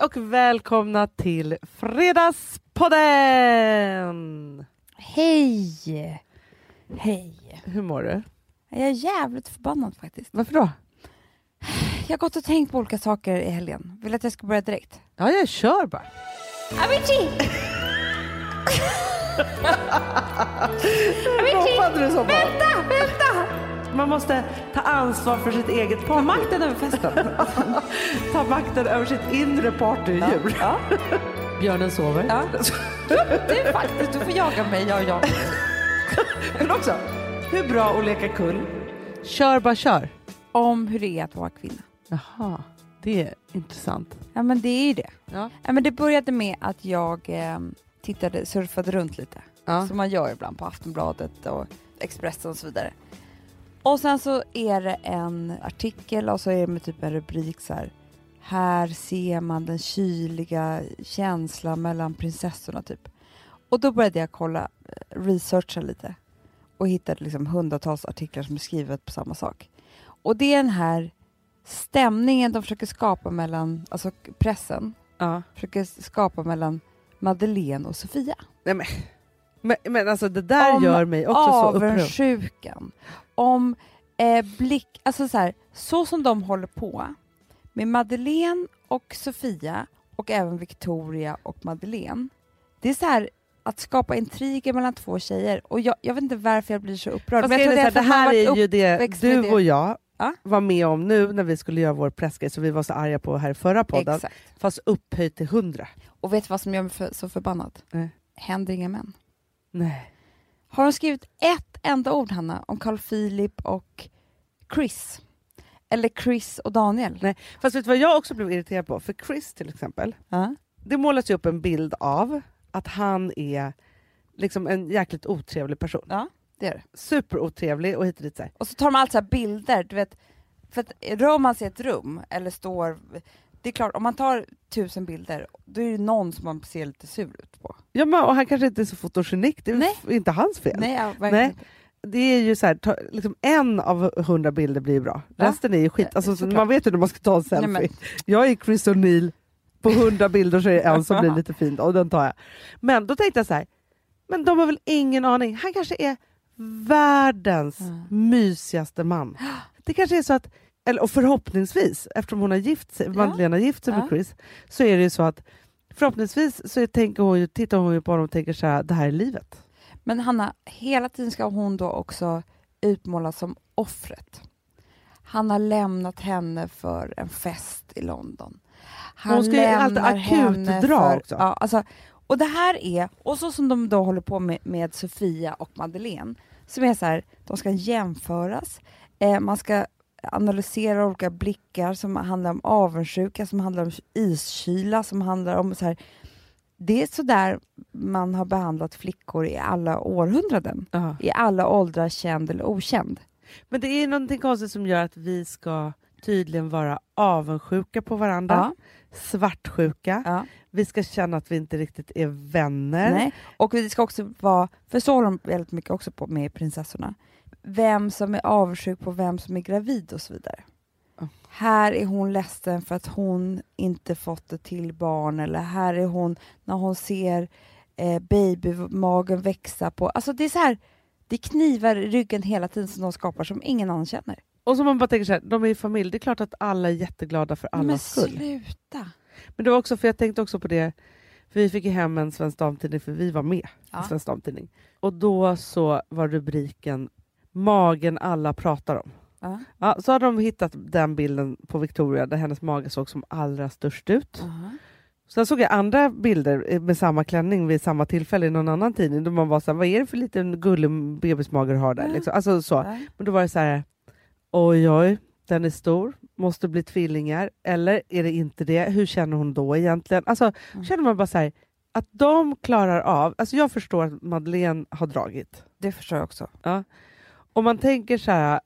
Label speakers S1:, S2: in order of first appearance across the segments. S1: och välkomna till Fredagspodden!
S2: Hej! Hej.
S1: Hur mår du?
S2: Jag är jävligt förbannad faktiskt.
S1: Varför då?
S2: Jag har gått och tänkt på olika saker i helgen. Vill att jag ska börja direkt?
S1: Ja, jag kör bara.
S2: Avicii!
S1: Ropade du så bara?
S2: Vänta, vänta!
S1: Man måste ta ansvar för sitt eget party. Ta makten över festen. ta makten över sitt inre partydjur.
S2: Ja,
S1: Björnen sover.
S2: ja. Du faktiskt, du får jaga mig, jag och jag.
S1: Men också, hur bra att leka kull? Kör bara kör.
S2: Om hur det är att vara kvinna.
S1: Jaha, det är intressant.
S2: Ja, men det är ju det.
S1: Ja.
S2: Ja, men det började med att jag eh, tittade, surfade runt lite.
S1: Ja.
S2: som man gör ibland på Aftonbladet och Expressen och så vidare. Och sen så är det en artikel och så är det med typ en rubrik så här. Här ser man den kyliga känslan mellan prinsessorna typ. Och då började jag kolla, eh, researcha lite och hittade liksom hundratals artiklar som är skrivet på samma sak. Och det är den här stämningen de försöker skapa mellan, alltså pressen,
S1: Ja.
S2: försöker skapa mellan Madeleine och Sofia.
S1: Men, men alltså det där
S2: Om
S1: gör mig också så upprörd.
S2: avundsjukan, om eh, blick, alltså så här, så som de håller på med Madeleine och Sofia och även Victoria och Madeleine. Det är så här att skapa intriger mellan två tjejer och jag, jag vet inte varför jag blir så upprörd.
S1: Fast
S2: jag
S1: grejen är så här, det
S2: för att man
S1: här
S2: varit
S1: är ju det
S2: uppväxt med
S1: du
S2: det.
S1: och jag
S2: Ja.
S1: var med om nu när vi skulle göra vår pressgrej som vi var så arga på här i förra podden,
S2: Exakt.
S1: fast upphöjt till 100.
S2: Och vet du vad som gör mig för, så förbannad?
S1: Nej.
S2: Händer inga män.
S1: Nej.
S2: Har de skrivit ett enda ord, Hanna, om Carl Philip och Chris? Eller Chris och Daniel?
S1: Nej. Fast vet du vad jag också blev irriterad på? För Chris till exempel,
S2: Ja.
S1: det målas ju upp en bild av att han är liksom en jäkligt otrevlig person.
S2: ja, det är det.
S1: Superotrevlig och hit och dit. Så här.
S2: Och så tar de allt så här bilder, du vet. För att rör man sig i ett rum eller står... Det är klart, om man tar tusen bilder, då är det någon som man ser lite sur ut på.
S1: Ja, men, och han kanske inte är så fotogenik, det är
S2: Nej.
S1: f- inte hans fel.
S2: Nej, ja,
S1: Nej.
S2: verkligen inte.
S1: Det är ju så här, ta, liksom en av hundra bilder blir bra,
S2: Ja.
S1: resten är ju skit.
S2: Ja,
S1: Alltså, så
S2: såklart.
S1: man vet ju när man ska ta en
S2: Nej,
S1: selfie.
S2: men-
S1: Jag är Chris O'Neill, på hundra bilder så är det en som blir lite fin och den tar jag. Men då tänkte jag så här, men de har väl ingen aning. Han kanske är världens
S2: Mm.
S1: mysigaste man. Det kanske är så att, eller, och förhoppningsvis, eftersom hon har gift sig, Madeleine har gift sig med
S2: Ja.
S1: Chris, så är det ju så att förhoppningsvis så tänker hon ju, tittar hon ju på honom och tänker så här, det här är livet.
S2: Men Hanna, hela tiden ska hon då också utmålas som offret. Han har lämnat henne för en fest i London. Han
S1: Hon ska ju alltid
S2: lämnar henne
S1: akutdra
S2: för-
S1: också.
S2: Ja, alltså, och det här är, och så som de då håller på med, med Sofia och Madeleine, som är så här, de ska jämföras, eh, man ska analysera olika blickar som handlar om avundsjuka, som handlar om iskyla, som handlar om så här, det är så där man har behandlat flickor i alla århundraden. I alla åldrar, känd eller okänd.
S1: Men det är någonting konstigt som gör att vi ska tydligen vara avundsjuka på varandra,
S2: Ja,
S1: svartsjuka,
S2: ja.
S1: Vi ska känna att vi inte riktigt är vänner.
S2: Nej. Och vi ska också vara, för så håller de väldigt mycket också på med prinsessorna, vem som är avundsjuk på vem som är gravid och så vidare.
S1: Ja.
S2: Här är hon ledsen för att hon inte fått ett till barn eller här är hon när hon ser eh, babymagen växa på, alltså det är så här, det knivar i ryggen hela tiden som de skapar som ingen annan känner.
S1: Och så man bara tänker så här, de är ju familj, det är klart att alla är jätteglada för
S2: Men
S1: allas skull.
S2: sluta!
S1: Men det var också, för jag tänkte också på det, för vi fick ju hem en Svensk Damtidning för vi var med
S2: Ja.
S1: i Svensk Damtidning. Och då så var rubriken “Magen alla pratar om”.
S2: Ja.
S1: Ja, så hade de hittat den bilden på Victoria där hennes mage såg som allra störst ut. Sen såg jag andra bilder eh, med samma klänning vid samma tillfälle i någon annan tidning där man var såhär, vad är det för liten gullig bebismage du har där?
S2: Ja.
S1: Liksom. Alltså så.
S2: Mm. Ja.
S1: Men då var det så här, oj oj, den är stor, måste bli tvillingar, eller är det inte det? Hur känner hon då egentligen? Alltså,
S2: Mm.
S1: känner man bara så här, att de klarar av, alltså jag förstår att Madeleine har dragit,
S2: Det förstår jag också.
S1: och man tänker så här,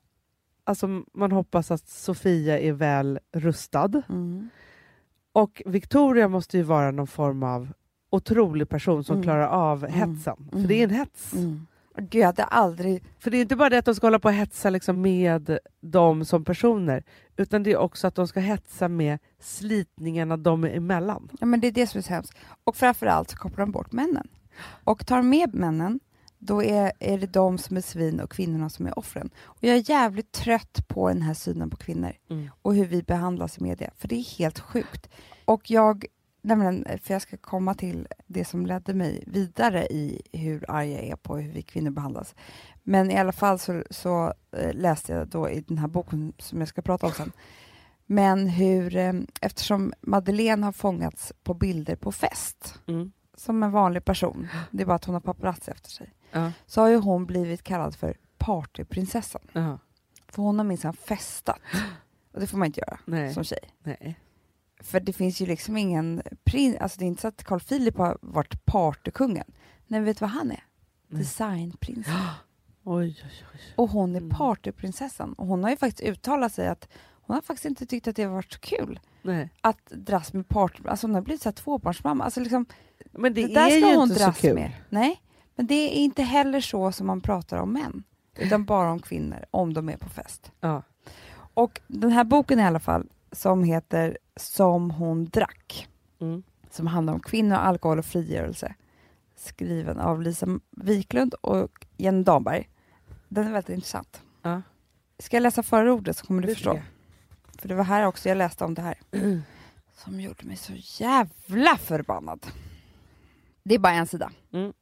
S1: alltså man hoppas att Sofia är väl rustad,
S2: Mm.
S1: och Victoria måste ju vara någon form av otrolig person som
S2: Mm.
S1: klarar av
S2: Mm.
S1: hetsen, för
S2: Mm.
S1: det är en hets.
S2: Mm. Gud, jag hade aldrig...
S1: För det är ju inte bara det att de ska hålla på och hetsa liksom med dem som personer, utan det är också att de ska hetsa med slitningarna de är emellan.
S2: Ja, men det är det som är så hemskt. Och framförallt så kopplar de bort männen. Och tar med männen, då är, är det de som är svin och kvinnorna som är offren. Och jag är jävligt trött på den här synen på kvinnor
S1: Mm.
S2: och hur vi behandlas i media, för det är helt sjukt. Och jag, nämligen, för jag ska komma till det som ledde mig vidare i hur arg jag är på hur vi kvinnor behandlas. Men i alla fall så, så eh, läste jag då i den här boken som jag ska prata om sen, men hur, eh, eftersom Madeleine har fångats på bilder på fest,
S1: Mm.
S2: som en vanlig person, det är bara att hon har paparazzi efter sig,
S1: Ja.
S2: så har ju hon blivit kallad för partyprinsessan.
S1: Ja.
S2: För hon har minsann festat. Och det får man inte göra
S1: Nej.
S2: som tjej.
S1: Nej.
S2: För det finns ju liksom ingen prins, alltså det är inte så att Carl Philip har varit partykungen. Nej, vet du vad han är?
S1: Nej.
S2: Designprinsen.
S1: Oj, oj, oj.
S2: Och hon är
S1: Mm.
S2: partyprinsessan. Och hon har ju faktiskt uttalat sig att hon har faktiskt inte tyckt att det har varit så kul
S1: Nej.
S2: att dras med party... Alltså hon har blivit så här tvåbarnsmamma. Alltså liksom,
S1: Men det,
S2: det, där
S1: är
S2: ska
S1: ju
S2: hon
S1: inte så
S2: dras
S1: kul.
S2: med. Nej, men det är inte heller så som man pratar om män. Utan bara om kvinnor, om de är på fest.
S1: Ja.
S2: Och den här boken i alla fall, som heter Som hon drack,
S1: Mm.
S2: som handlar om kvinnor, alkohol och frigörelse, skriven av Lisa Wiklund och Jenny Damberg. Den är väldigt intressant.
S1: Ja.
S2: Ska jag läsa förordet så kommer du
S1: Det
S2: förstå.
S1: tycker
S2: För det var här också jag läste om det här. Som gjorde mig så jävla förbannad. Det är bara en sida.
S1: Mm.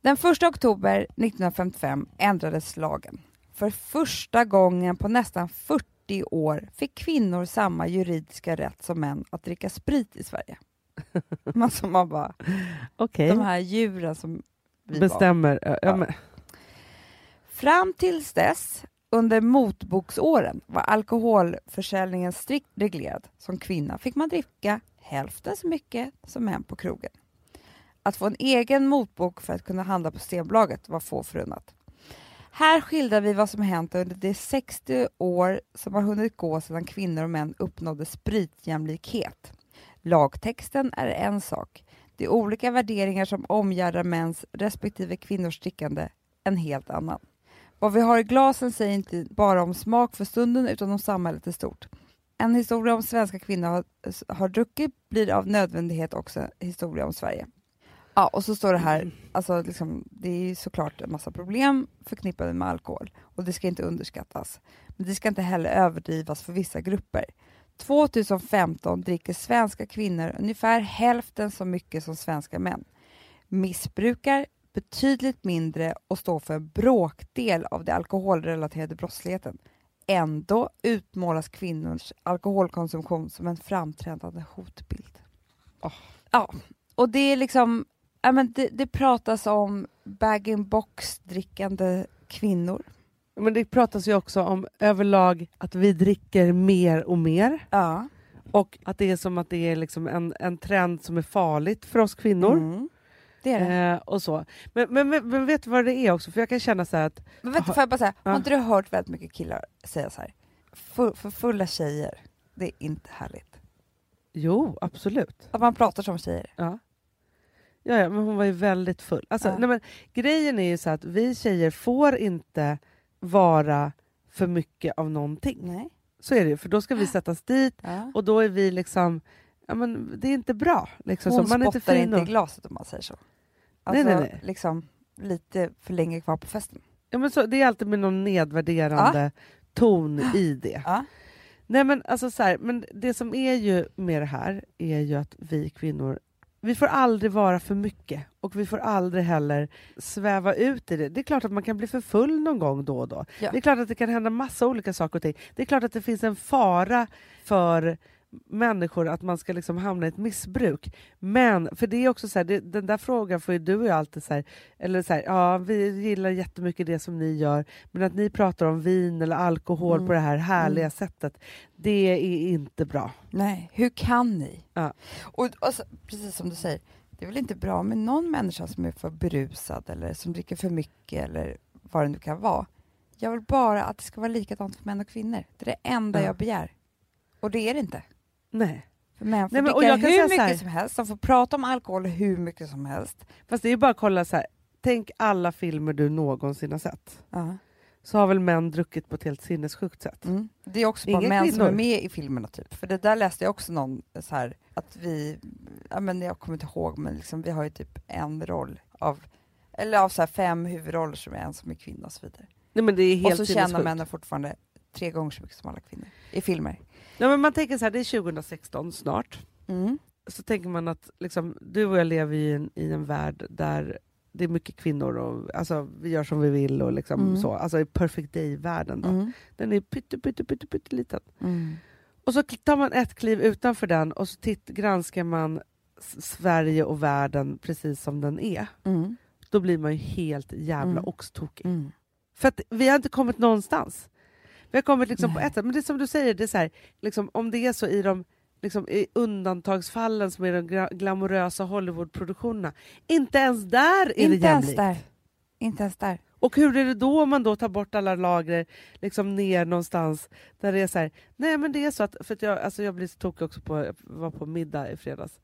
S2: Den 1 oktober 1955 ändrades lagen. För första gången på nästan 40 år fick kvinnor samma juridiska rätt som män att dricka sprit i Sverige. Man som man bara,
S1: Okej.
S2: de här djuren som vi var.
S1: Bestämmer. Ja,
S2: Ja.
S1: ja. Men,
S2: Fram tills dess, under motboksåren, var alkoholförsäljningen strikt reglerad. Som kvinna fick man dricka hälften så mycket som män på krogen. Att få en egen motbok för att kunna handla på Systembolaget var få förunnat. Här skildrar vi vad som hänt under de 60 år som har hunnit gå sedan kvinnor och män uppnådde spritjämlikhet. Lagtexten är en sak, de olika värderingar som omgärdar mäns respektive kvinnors drickande en helt annan. Vad vi har i glasen säger inte bara om smak för stunden utan om samhället i stort. En historia om svenska kvinnor har, har druckit blir av nödvändighet också en historia om Sverige. Ja, och så står det här, alltså liksom, det är ju såklart en massa problem förknippade med alkohol och det ska inte underskattas. Men det ska inte heller överdrivas för vissa grupper. 2015 dricker svenska kvinnor ungefär hälften så mycket som svenska män. Missbrukar betydligt mindre och står för en bråkdel av den alkoholrelaterade brottsligheten. Ändå utmålas kvinnors alkoholkonsumtion som en framträdande hotbild.
S1: Åh.
S2: Ja, och det är liksom, ja, men det, det pratas om bag-in-box-drickande kvinnor.
S1: men det pratas ju också om överlag att vi dricker mer och mer.
S2: Ja.
S1: Och att det är som att det är liksom en, en trend som är farligt för oss kvinnor.
S2: Mm. Det är det.
S1: Eh, och så. Men, men, men, men vet du vad det är också? För jag kan känna så här att
S2: Men vänta,
S1: Har-
S2: får jag bara säga, har
S1: Ja.
S2: inte du hört väldigt mycket killar säga så här? För, för fulla tjejer, det är inte härligt.
S1: jo, absolut.
S2: Att man pratar som tjejer.
S1: Ja, ja, men hon var ju väldigt full. Alltså,
S2: Ja.
S1: nej, men, grejen är ju så att vi tjejer får inte vara för mycket av någonting.
S2: Nej.
S1: Så är det ju, för då ska vi sättas dit
S2: Ja.
S1: och då är vi liksom, ja men det är inte bra. Liksom,
S2: Hon
S1: så man är inte
S2: spottar
S1: fin
S2: inte i
S1: nog.
S2: glaset om man säger så.
S1: Nej,
S2: Alltså,
S1: nej, nej.
S2: liksom lite för länge kvar på festen.
S1: Ja, men så, det är alltid med någon nedvärderande ton i det.
S2: Ja.
S1: Nej men alltså så här, men det som är ju med det här är ju att vi kvinnor, vi får aldrig vara för mycket och vi får aldrig heller sväva ut i det. Det är klart att man kan bli för full någon gång då och då.
S2: Ja.
S1: Det är klart att det kan hända massa olika saker och ting. Det är klart att det finns en fara för människor att man ska liksom hamna i ett missbruk. Men, för det är också så här, det, den där frågan får ju du och jag alltid så här, eller så här, ja vi gillar jättemycket det som ni gör, men att ni pratar om vin eller alkohol
S2: Mm.
S1: på det här härliga
S2: Mm.
S1: sättet, det är inte bra.
S2: Nej, hur kan ni?
S1: Ja.
S2: Och, och så, precis som du säger, det är väl inte bra med någon människa som är för berusad eller som dricker för mycket eller vad det nu kan vara. Jag vill bara att det ska vara likadant för män och kvinnor. Det är det enda
S1: Ja.
S2: jag begär. Och det är det inte.
S1: Nej.
S2: För män får
S1: Nej, men- och
S2: dricka
S1: jag kan
S2: hur
S1: säga så
S2: mycket
S1: här-
S2: som helst, de får prata om alkohol hur mycket som helst.
S1: Fast det är ju bara att kolla så här, tänk alla filmer du någonsin har sett.
S2: Ja.
S1: Så har väl män druckit på ett helt sinnessjukt sätt.
S2: Mm. Det är också bara
S1: Inga
S2: män som
S1: kvinnor.
S2: är med i filmerna typ. För det där läste jag också någon så här att vi, ja men jag kommer inte ihåg men liksom vi har ju typ en roll av, eller av så här fem huvudroller som är en som är kvinna och så vidare.
S1: Nej, men det är helt
S2: och så
S1: sinnessjukt.
S2: tjänar männen fortfarande tre gånger så mycket som alla kvinnor i filmer.
S1: Ja, men man tänker så här, det är 2016 snart.
S2: Mm.
S1: Så tänker man att liksom, du och jag lever i en, i en värld där det är mycket kvinnor och alltså, vi gör som vi vill och liksom
S2: Mm.
S1: så. Alltså i perfect day-världen då.
S2: Mm.
S1: Den är pytte, pytte, pytte, pytteliten.
S2: Mm.
S1: Och så tar man ett kliv utanför den och så titt, granskar man S- Sverige och världen precis som den är.
S2: Mm.
S1: Då blir man ju helt jävla
S2: Mm.
S1: oxtokig.
S2: Mm.
S1: För att vi har inte kommit någonstans. Vi har kommit liksom på
S2: Nej.
S1: ett sätt, men det är som du säger, det är så här, liksom, om det är så i de liksom, i undantagsfallen som är de gra- glamorösa Hollywoodproduktionerna, inte ens där är det
S2: Inte ens
S1: jämlikt.
S2: där. Inte ens där.
S1: Och hur är det då om man då tar bort alla lager liksom ner någonstans där det är så här, nej men det är så att, för att jag, alltså jag blir så tokig också på, jag var på middag i fredags.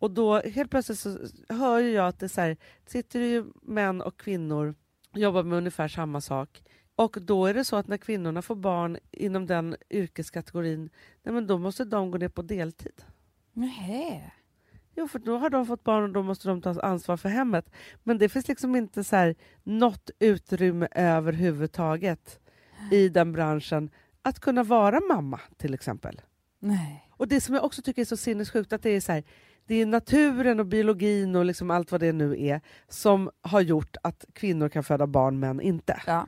S1: Och då helt plötsligt så hör ju jag att det är så här, sitter det ju män och kvinnor jobbar med ungefär samma sak. Och då är det så att när kvinnorna får barn inom den yrkeskategorin, nej men då måste de gå ner på deltid.
S2: Nej.
S1: Jo, för då har de fått barn och då måste de ta ansvar för hemmet. Men det finns liksom inte så här, något utrymme överhuvudtaget i den branschen att kunna vara mamma till exempel.
S2: Nej.
S1: Och det som jag också tycker är så sinnessjukt att det är så här, det är naturen och biologin och liksom allt vad det nu är som har gjort att kvinnor kan föda barn, män inte.
S2: Ja.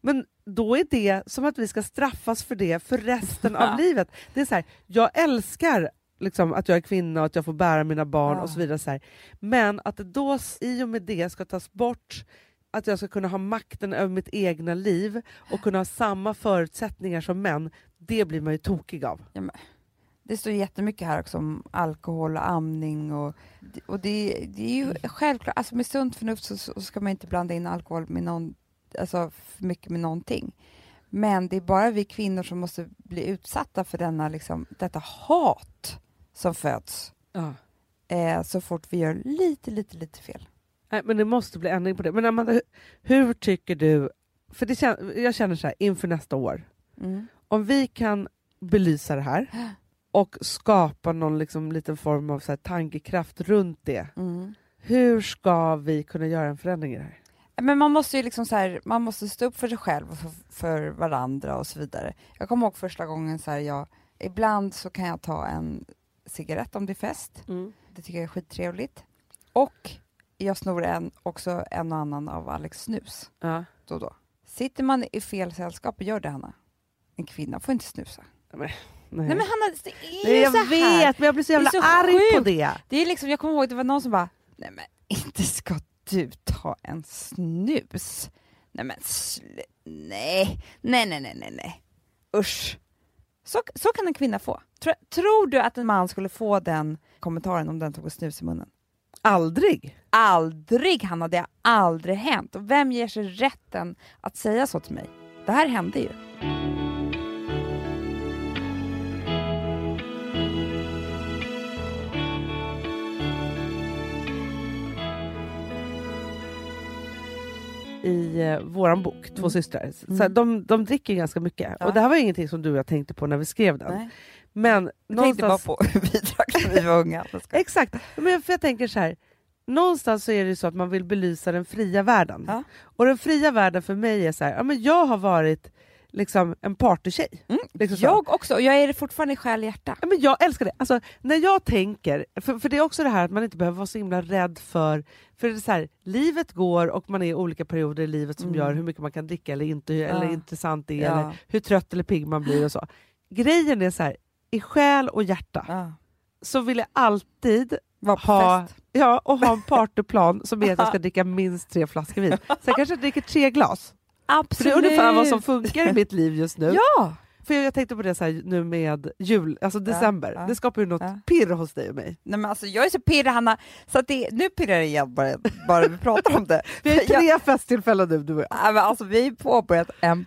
S1: Men då är det som att vi ska straffas för det för resten av livet. Det är så här, jag älskar liksom, att jag är kvinna och att jag får bära mina barn
S2: Ja.
S1: och så vidare. Så här. Men att det då s- i och med det ska tas bort att jag ska kunna ha makten över mitt egna liv och kunna ha samma förutsättningar som män, det blir man ju tokig av.
S2: Det står jättemycket här också om alkohol och amning och, och det, det är ju självklart, alltså med sunt förnuft så, så ska man inte blanda in alkohol med någon, alltså för mycket med någonting. Men det är bara vi kvinnor som måste bli utsatta för denna, liksom, detta hat som föds
S1: Ja.
S2: eh, så fort vi gör lite, lite, lite fel.
S1: Nej, men det måste bli ändring på det. Men Amanda, hur, hur tycker du... För det kän, jag känner så här, inför nästa år, om vi kan belysa det här och skapa någon liksom, liten form av så här, tankekraft runt det.
S2: Mm.
S1: Hur ska vi kunna göra en förändring i det här?
S2: Men man måste ju liksom så här, man måste stå upp för sig själv och för, för varandra och så vidare. Jag kommer ihåg första gången så här, jag, ibland så kan jag ta en cigarett om det är fest. Det tycker jag är skittrevligt. Och jag snor en, också en och annan av Alex snus
S1: Ja.
S2: då och då. Sitter man i fel sällskap, och gör det Hanna. En kvinna får inte snusa.
S1: Nej.
S2: Nej men Hanna, det är ju
S1: Nej, jag
S2: så här.
S1: vet, men jag blir så jävla
S2: så
S1: arg på
S2: sjukt.
S1: det.
S2: Det är liksom, jag kommer ihåg det var någon som bara, nej men inte ska du ta en snus. Nej men sl- nej, nej nej nej nej nej. Usch. Så, så kan en kvinna få. Tror, tror du att en man skulle få den kommentaren om den tog en snus i munnen?
S1: Aldrig.
S2: Aldrig Hanna, det har aldrig hänt. Och vem ger sig rätten att säga så till mig? Det här hände ju.
S1: i eh, våran bok, Två
S2: Mm.
S1: systrar. Så
S2: Mm.
S1: här, de, de dricker ju ganska mycket.
S2: Ja.
S1: Och det här var ju ingenting som du och jag tänkte på när vi skrev den.
S2: Nej.
S1: Men
S2: Jag tänkte bara
S1: någonstans...
S2: på hur vi drack när vi var unga. Jag skojar.
S1: Exakt. Men för jag tänker så här. Någonstans så är det ju så att man vill belysa den fria världen.
S2: Ja.
S1: Och den fria världen för mig är så här, ja, men jag har varit liksom en partytjej.
S2: Mm,
S1: Liksom så.
S2: Jag också, och jag är det fortfarande i själ och hjärta.
S1: Ja, men jag älskar det. Alltså, när jag tänker, för, för det är också det här att man inte behöver vara så himla rädd för, för det är så här, livet går och man är i olika perioder i livet som
S2: Mm.
S1: gör hur mycket man kan dricka eller inte, hur, eller
S2: Ja.
S1: intressant det är,
S2: Ja.
S1: eller hur trött eller pigg man blir och så. Grejen är så här, i själ och hjärta
S2: Ja.
S1: så vill jag alltid
S2: Var på
S1: Ha-
S2: fest.
S1: ja, och ha en partyplan som är att jag ska dricka minst tre flaskor vin. Sen kanske jag dricker tre glas. För det
S2: Absolut.
S1: är ungefär vad som funkar i mitt liv just nu.
S2: Ja!
S1: För jag, jag tänkte på det så här nu med jul, alltså december.
S2: ja,
S1: Det skapar ju något
S2: ja.
S1: pirr hos dig och mig.
S2: Nej, men alltså, jag är så pirrig Hanna, så att det, nu pirrar det igen bara, bara vi pratar om det.
S1: Vi har ju
S2: Jag-
S1: tre festtillfällen nu, du och jag.
S2: Nej, men alltså, vi har påbörjat en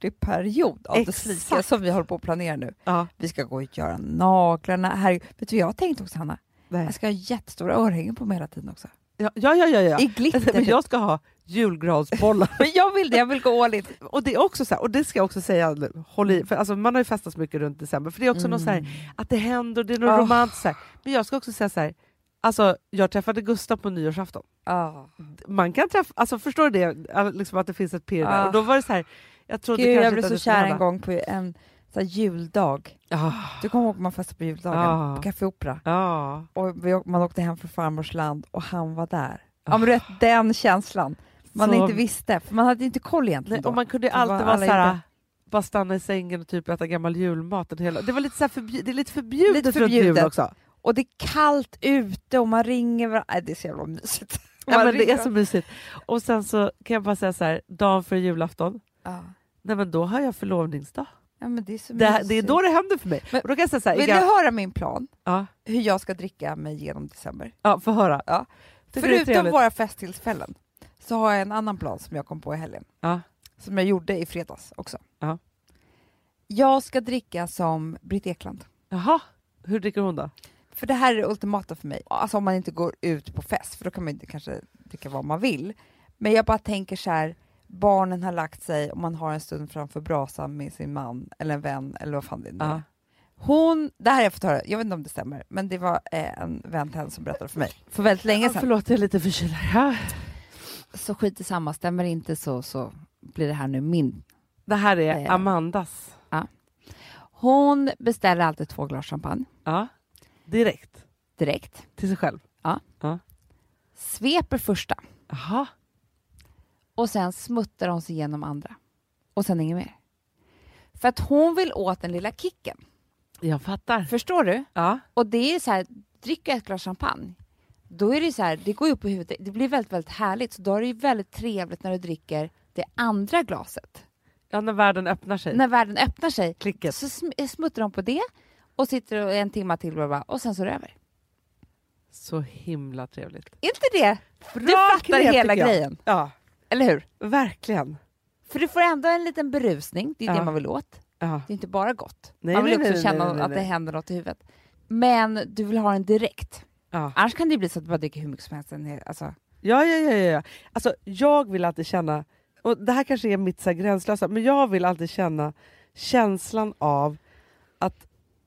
S2: partyperiod av det
S1: Exakt.
S2: slika som vi håller på att planera nu.
S1: Ja, vi,
S2: Vi ska gå och göra naglarna. Här, vet du vad jag har tänkt också Hanna?
S1: nej.
S2: Alltså, Jag ska ha jättestora örhängen på mig hela tiden också.
S1: Ja, ja, ja. ja, ja.
S2: I glitter.
S1: Men jag ska ha julgransbollar.
S2: Men jag vill det, jag vill gå all in.
S1: Och det är också så här, och det ska jag också säga, håll
S2: Mm.
S1: i, för alltså, man har ju festat mycket runt december, för det är också något så här, att det händer, det är något
S2: Ah.
S1: romantiskt. Så här. Men jag ska också säga så här, alltså, jag träffade Gustav på nyårsafton.
S2: Ah.
S1: Man kan träffa, alltså, förstår du det? All- Liksom att det finns ett pirr där.
S2: Ah.
S1: Och då var det så här, jag trodde
S2: Gud,
S1: kanske
S2: jag blev
S1: inte att
S2: så
S1: det skulle
S2: kär en
S1: hända.
S2: gång på en så här, juldag.
S1: Ah,
S2: Du kommer ihåg när man festade på juldagen
S1: Ja.
S2: på Café Opera?
S1: ah.
S2: Och vi, å- man åkte hem från farmors land och han var där. Ja, men du vet, den känslan. Man
S1: Ah. Så-
S2: inte visste, för man hade inte koll egentligen
S1: Nej,
S2: då.
S1: och man kunde ju
S2: Det var
S1: alltid vara
S2: alla
S1: så här,
S2: gjorde.
S1: bara stanna i sängen och typ äta gammal julmat. en Hela. Det, var lite så här förbju- det är lite förbjudet,
S2: Lite
S1: runt
S2: förbjudet.
S1: jul också.
S2: Och det är kallt ute och man ringer varandra. Nej, det är så jävla mysigt.
S1: Ja,
S2: Man
S1: men det är
S2: ringer-
S1: så mysigt. Och sen så kan jag bara säga så här, dagen före julafton,
S2: Ja.
S1: nej men då har jag förlovningsdag.
S2: ja, men det är så
S1: Det, här-
S2: mysigt.
S1: det är då det händer för mig.
S2: Men-
S1: och då kan jag säga så här,
S2: Vill du
S1: Iga-
S2: höra min plan?
S1: ja,
S2: Hur jag ska dricka mig genom december?
S1: ja, få höra.
S2: Ja.
S1: Tycker det är
S2: Förutom
S1: trevligt.
S2: våra festtillfällen så har jag en annan plan som jag kom på i helgen.
S1: Ja.
S2: Som jag gjorde i fredags också.
S1: Ja.
S2: Jag ska dricka som Britt Ekland.
S1: Jaha, hur dricker hon då?
S2: För det här är det ultimata för mig. Alltså om man inte går ut på fest, för då kan man ju kanske dricka vad man vill. Men jag bara tänker så här, barnen har lagt sig och man har en stund framför brasan med sin man eller en vän eller vad fan det nu är.
S1: Ja.
S2: Hon, det här har jag fått höra, jag vet inte om det stämmer, men det var eh, en vän till henne som berättade för mig för väldigt länge sedan.
S1: Förlåt, jag är lite förkyld. Ja.
S2: Så skit i samma, stämmer det inte så, så blir det här nu min.
S1: Det här är
S2: Eh.
S1: Amandas.
S2: Hon beställer alltid två glas champagne
S1: Ja. Direkt,
S2: direkt,
S1: till sig själv.
S2: sveper första
S1: Jaha.
S2: och sen smuttar hon sig igenom andra. Och sen inget mer. För att hon vill åt den lilla kicken.
S1: Jag fattar.
S2: Förstår du?
S1: Ja.
S2: Och det är ju så här, dricker jag ett glas champagne, då är det ju så här, det går ju upp i huvudet, det blir väldigt, väldigt härligt. Så då är det ju väldigt trevligt när du dricker det andra glaset.
S1: ja, när världen öppnar sig.
S2: När världen öppnar sig
S1: Klicket.
S2: så sm- eh, smuttar de på det och sitter och en timma till bla bla, och sen så är det över.
S1: Så himla trevligt.
S2: Är inte det? du
S1: Bra
S2: fattar
S1: knep,
S2: hela
S1: tycker jag.
S2: grejen,
S1: Ja,
S2: eller hur?
S1: verkligen.
S2: För du får ändå en liten berusning, det är det
S1: Ja.
S2: man vill åt.
S1: Ja.
S2: Det är inte bara gott.
S1: Nej,
S2: man
S1: nej,
S2: vill också
S1: nej,
S2: känna
S1: nej, nej,
S2: att det
S1: nej.
S2: händer något i huvudet. Men du vill ha den direkt.
S1: Ja. Mm.
S2: Annars kan det bli så att du bara dricker hur mycket som helst. en hel- Alltså,
S1: Ja, ja, ja, ja. ja. Alltså, jag vill alltid känna, och det här kanske är mitt så här gränslösa, men jag vill alltid känna känslan av att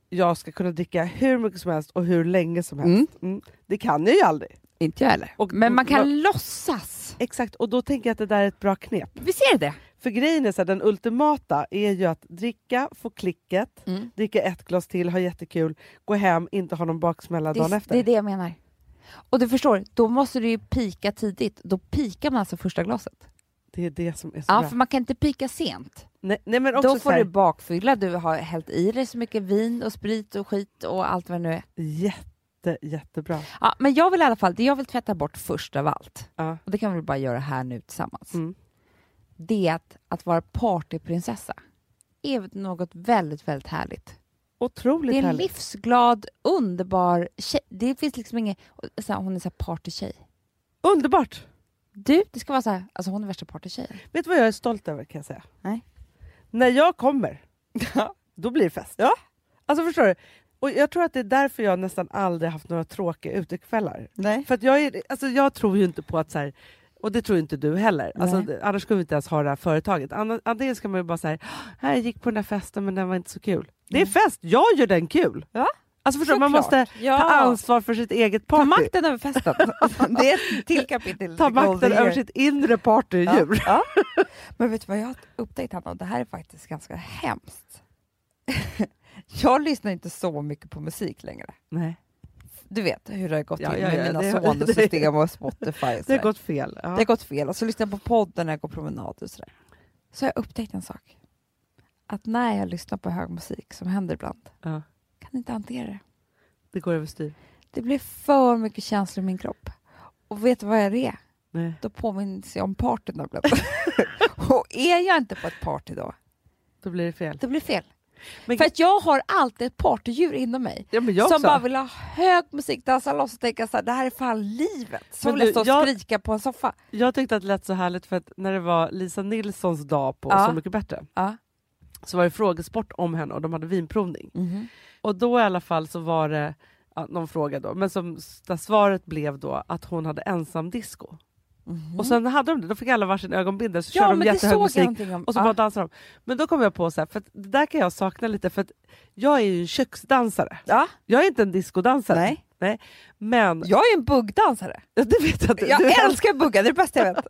S1: jag ska kunna dricka hur mycket som helst och hur länge som helst.
S2: Mm.
S1: Mm. Det kan jag Mm. ju aldrig.
S2: inte jag heller.
S1: Och-
S2: Men man kan
S1: och-
S2: låtsas.
S1: Exakt, och då tänker jag att det där är ett bra knep.
S2: Visst är det det?
S1: För grejen är så här, den ultimata är ju att dricka, få klicket, dricka ett glas till, ha jättekul, gå hem, inte ha någon baksmälla dagen
S2: Det,
S1: efter.
S2: det är det jag menar. Och du förstår, då måste du ju pika tidigt. Då pikar man alltså första glaset.
S1: Det är det som är så
S2: Ja,
S1: bra.
S2: för man kan inte pika sent.
S1: Nej, nej, men också
S2: Då får
S1: så här,
S2: du bakfylla. Du har hällt i dig så mycket vin och sprit och skit och allt vad det nu är.
S1: jätte, jättebra.
S2: Ja, men jag vill i alla fall, det jag vill tvätta bort först av allt,
S1: Ja.
S2: och det kan vi bara göra här nu tillsammans,
S1: Mm.
S2: det är att, att vara partyprinsessa är något väldigt, väldigt härligt.
S1: Otroligt
S2: Det är en
S1: härligt.
S2: livsglad, underbar tjej. Det finns liksom ingen... och Så här, hon är så här partytjej.
S1: Underbart!
S2: Du, det ska vara så här, alltså hon är värsta partytjejen.
S1: Vet du vad jag är stolt över kan jag säga?
S2: Nej.
S1: När jag kommer, då blir det fest. Ja. Alltså förstår du? Och jag tror att det är därför jag nästan aldrig haft några tråkiga utekvällar.
S2: Nej.
S1: För att jag, är, alltså jag tror ju inte på att så här, och det tror ju inte du heller, alltså,
S2: Nej.
S1: det- annars skulle vi inte ens ha det här företaget. Anna- Antingen ska man ju bara säga här jag gick på den där festen men den var inte så kul. Det är fest, jag gör den kul!
S2: Ja.
S1: Alltså förstår du, man måste ta ansvar för sitt eget
S2: Ta
S1: party.
S2: makten över festen. det är ett till kapitel.
S1: Ta
S2: The Golden
S1: makten över
S2: Year.
S1: sitt inre partydjur.
S2: Ja. Ja. Men vet du vad jag har upptäckt Hanna? Och Det här är faktiskt ganska hemskt. jag lyssnar inte så mycket på musik längre.
S1: Nej,
S2: Du vet hur det har gått
S1: Ja,
S2: till
S1: ja,
S2: med
S1: ja,
S2: mina
S1: det har-
S2: soner,
S1: det-
S2: system och Spotify. Och
S1: det
S2: det,
S1: har gått fel. Ja.
S2: det har gått fel. Och så lyssnar jag på podden när jag går promenad och sådär. Så har jag upptäckt en sak. Att när jag lyssnar på hög musik, som händer ibland,
S1: Ja.
S2: kan inte hantera det.
S1: det går överstyr.
S2: Det blir för mycket känslor i min kropp. Och vet du vad jag är?
S1: Nej.
S2: Då påminns jag om partyn ibland. och är jag inte på ett party då,
S1: Då blir det fel.
S2: det blir fel.
S1: Men-
S2: För att jag har alltid ett partydjur inom mig.
S1: Ja, men jag
S2: som
S1: också.
S2: bara vill ha hög musik, dansa loss och tänka så här, det här är fan livet. Som
S1: Men
S2: vill jag
S1: du,
S2: stå och
S1: jag-
S2: skrika på en soffa.
S1: Jag tyckte att det lät så härligt för att när det var Lisa Nilssons dag på
S2: Ja.
S1: Så mycket bättre
S2: Ja. Mhm.
S1: så var det frågesport om henne och de hade vinprovning. Och då i alla fall så var det, ja, ja, någon fråga då, men som, där svaret blev då att hon hade ensam disco.
S2: Mhm.
S1: Och sen hade de det, då fick alla varsin ögonbindel så
S2: ja,
S1: körde
S2: men
S1: de
S2: det såg
S1: jättehög
S2: jag Ah.
S1: musik
S2: någonting om.
S1: och så bara dansade de. Men då kom jag på så här, för att det där kan jag sakna lite för att jag är ju en köksdansare.
S2: ja.
S1: Jag är inte en
S2: Ja.
S1: discodansare.
S2: Nej.
S1: Men
S2: Jag är ju en buggdansare.
S1: det vet jag inte.
S2: Jag
S1: Du-
S2: älskar buggar, det är det bästa jag vet.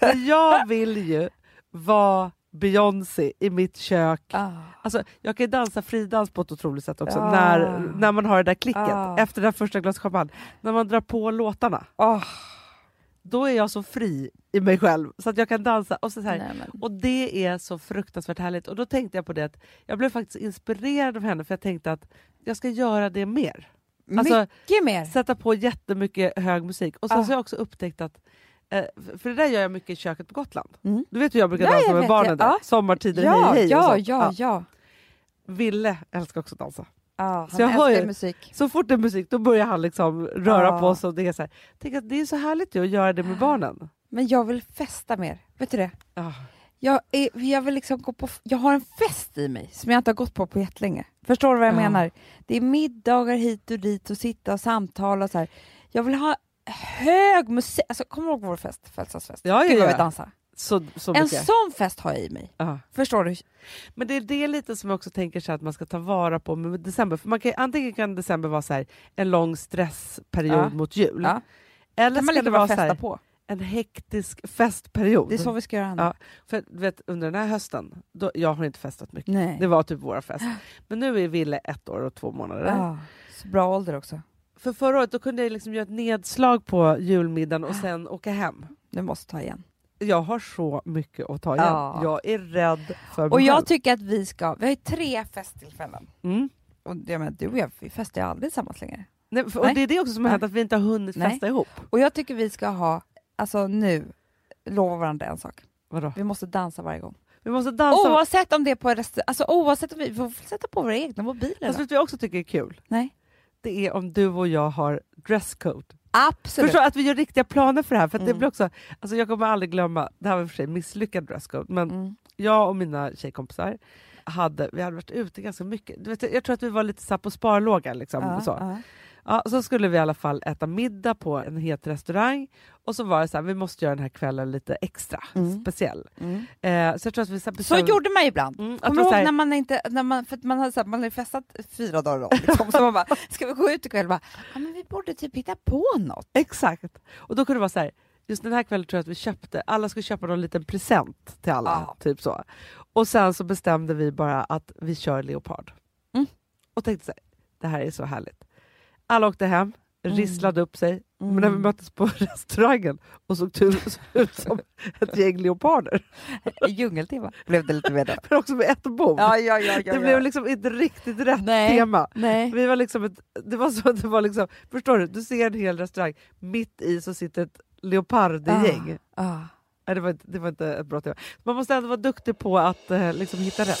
S1: Men jag vill ju vara Beyoncé i mitt kök.
S2: Ah.
S1: Alltså, jag kan ju dansa fridans på ett otroligt sätt också,
S2: Ah.
S1: när, när man har det där klicket.
S2: Ah.
S1: Efter det där första glaset champagne. När man drar på låtarna,
S2: Åh,
S1: då är jag så fri i mig själv så att jag kan dansa. Och, så så här.
S2: nej, men.
S1: och det är så fruktansvärt härligt. Och då tänkte jag på det att jag blev faktiskt inspirerad av henne för jag tänkte att jag ska göra det mer. Alltså,
S2: Mycket mer.
S1: sätta på jättemycket hög musik. Och sen
S2: Ah.
S1: så har jag också upptäckt att, eh, f- för det där gör jag mycket i köket på Gotland.
S2: Mm.
S1: Du vet hur jag brukar
S2: Ja,
S1: dansa
S2: jag
S1: med
S2: vet
S1: barnen
S2: det.
S1: där?
S2: Ja.
S1: Sommartider,
S2: ja,
S1: hej hej. och
S2: ja,
S1: sånt.
S2: ja, ja.
S1: Ville älskar också att dansa.
S2: Ah,
S1: Så
S2: han
S1: jag har
S2: älskar
S1: ju-
S2: ju musik.
S1: Så fort det är musik då börjar han liksom röra
S2: Ja.
S1: på sig. Och det, är så här. Tänk att det är så härligt ju att göra det med barnen.
S2: Men jag vill festa mer. Vet du det?
S1: Ah.
S2: Jag, är, jag, vill liksom gå på, f- jag har en fest i mig som jag inte har gått på på jättelänge. Förstår du vad jag
S1: Ja.
S2: menar? Det är middagar hit och dit och sitta och samtala och så här. Jag vill ha hög musik. Alltså, kommer du ihåg vår fest? Födelsedagsfest?
S1: Ja, ja,
S2: Gud vad
S1: ja.
S2: vi dansade.
S1: Så, så
S2: En
S1: mycket.
S2: sån fest har jag i mig.
S1: Ja.
S2: Förstår du?
S1: Men det är det lite som jag också tänker så här att man ska ta vara på med december. För man kan, antingen kan december vara så här, en lång stressperiod
S2: Ja.
S1: mot jul.
S2: Ja.
S1: Eller
S2: Kan man
S1: ska
S2: lika
S1: det
S2: bra
S1: vara så
S2: festa
S1: här,
S2: på.
S1: en hektisk festperiod.
S2: Det är så vi ska göra nu.
S1: Ja. För du vet, under den här hösten, då, jag har inte festat mycket.
S2: Nej.
S1: Det var typ våra fest. Men nu är Ville ett år och två månader.
S2: Ja. Ah, Så bra ålder också.
S1: För förra året då kunde jag liksom göra ett nedslag på julmiddagen och sen åka hem.
S2: Nu måste jag ta igen.
S1: Jag har så mycket att ta igen.
S2: Ja.
S1: Jag är rädd för
S2: Och
S1: mig
S2: jag
S1: själv.
S2: tycker att vi ska, vi har ju tre festtillfällen.
S1: Mm.
S2: Och jag menar, du och jag, vi festar ju aldrig tillsammans längre.
S1: Nej, för,
S2: Nej.
S1: och det är det också som har hänt, att vi inte har hunnit
S2: Nej.
S1: festa ihop.
S2: Och jag tycker vi ska ha, alltså nu, lova varandra en sak.
S1: Vadå?
S2: Vi måste dansa varje gång.
S1: Vi måste dansa.
S2: Oavsett om det är på en restaurang, alltså oavsett om vi, vi får sätta på våra egna mobiler.
S1: Fast
S2: då.
S1: vet du vad jag också tycker är kul?
S2: Nej.
S1: Det är om du och jag har dresscode.
S2: Absolut.
S1: Förstår du, att vi gör riktiga planer för det här. För att det
S2: Mm.
S1: blir också, alltså jag kommer aldrig glömma, det här var i och för sig misslyckad dresscode, men
S2: Mm.
S1: jag och mina tjejkompisar hade, vi hade varit ute ganska mycket. Du vet, jag tror att vi var lite så här på sparlåga. Liksom,
S2: Ja,
S1: så.
S2: ja.
S1: Ja, så skulle vi i alla fall äta middag på en het restaurang och så var det så här, vi måste göra den här kvällen lite extra
S2: Mm.
S1: speciell.
S2: Mm.
S1: Eh, så jag tror att vi så här
S2: Så
S1: bestämde-
S2: gjorde man ju ibland.
S1: Mm, att
S2: Kommer
S1: vi
S2: du
S1: så här,
S2: ihåg när man inte, när man, för att man hade, så här, man hade festat fyra dagar i rad, liksom, så man bara, ska vi gå ut ikväll? Bara, ja men vi borde typ hitta på något.
S1: Exakt! Och då kunde det vara så här, just den här kvällen tror jag att vi köpte, alla skulle köpa någon liten present till alla.
S2: Ja.
S1: Typ så. Och sen så bestämde vi bara att vi kör leopard.
S2: Mm.
S1: Och tänkte så här, det här är så härligt. Alla åkte hem,
S2: Mm.
S1: risslade upp sig,
S2: Mm.
S1: men när vi möttes på restaurangen och såg tur- såg ut som ett gäng leoparder,
S2: I Djungeltimma blev det lite mer då.
S1: men också med ett bord.
S2: Ja, ja, ja, ja,
S1: det blev liksom inte riktigt rätt
S2: Nej.
S1: tema.
S2: Nej.
S1: Vi var liksom ett, det var så att det var liksom, förstår du, du ser en hel restaurang, mitt i så sitter ett leopardgäng.
S2: Ah, ah.
S1: Nej, det, var inte, det var inte ett bra tema. Man måste ändå vara duktig på att eh, liksom hitta rätt.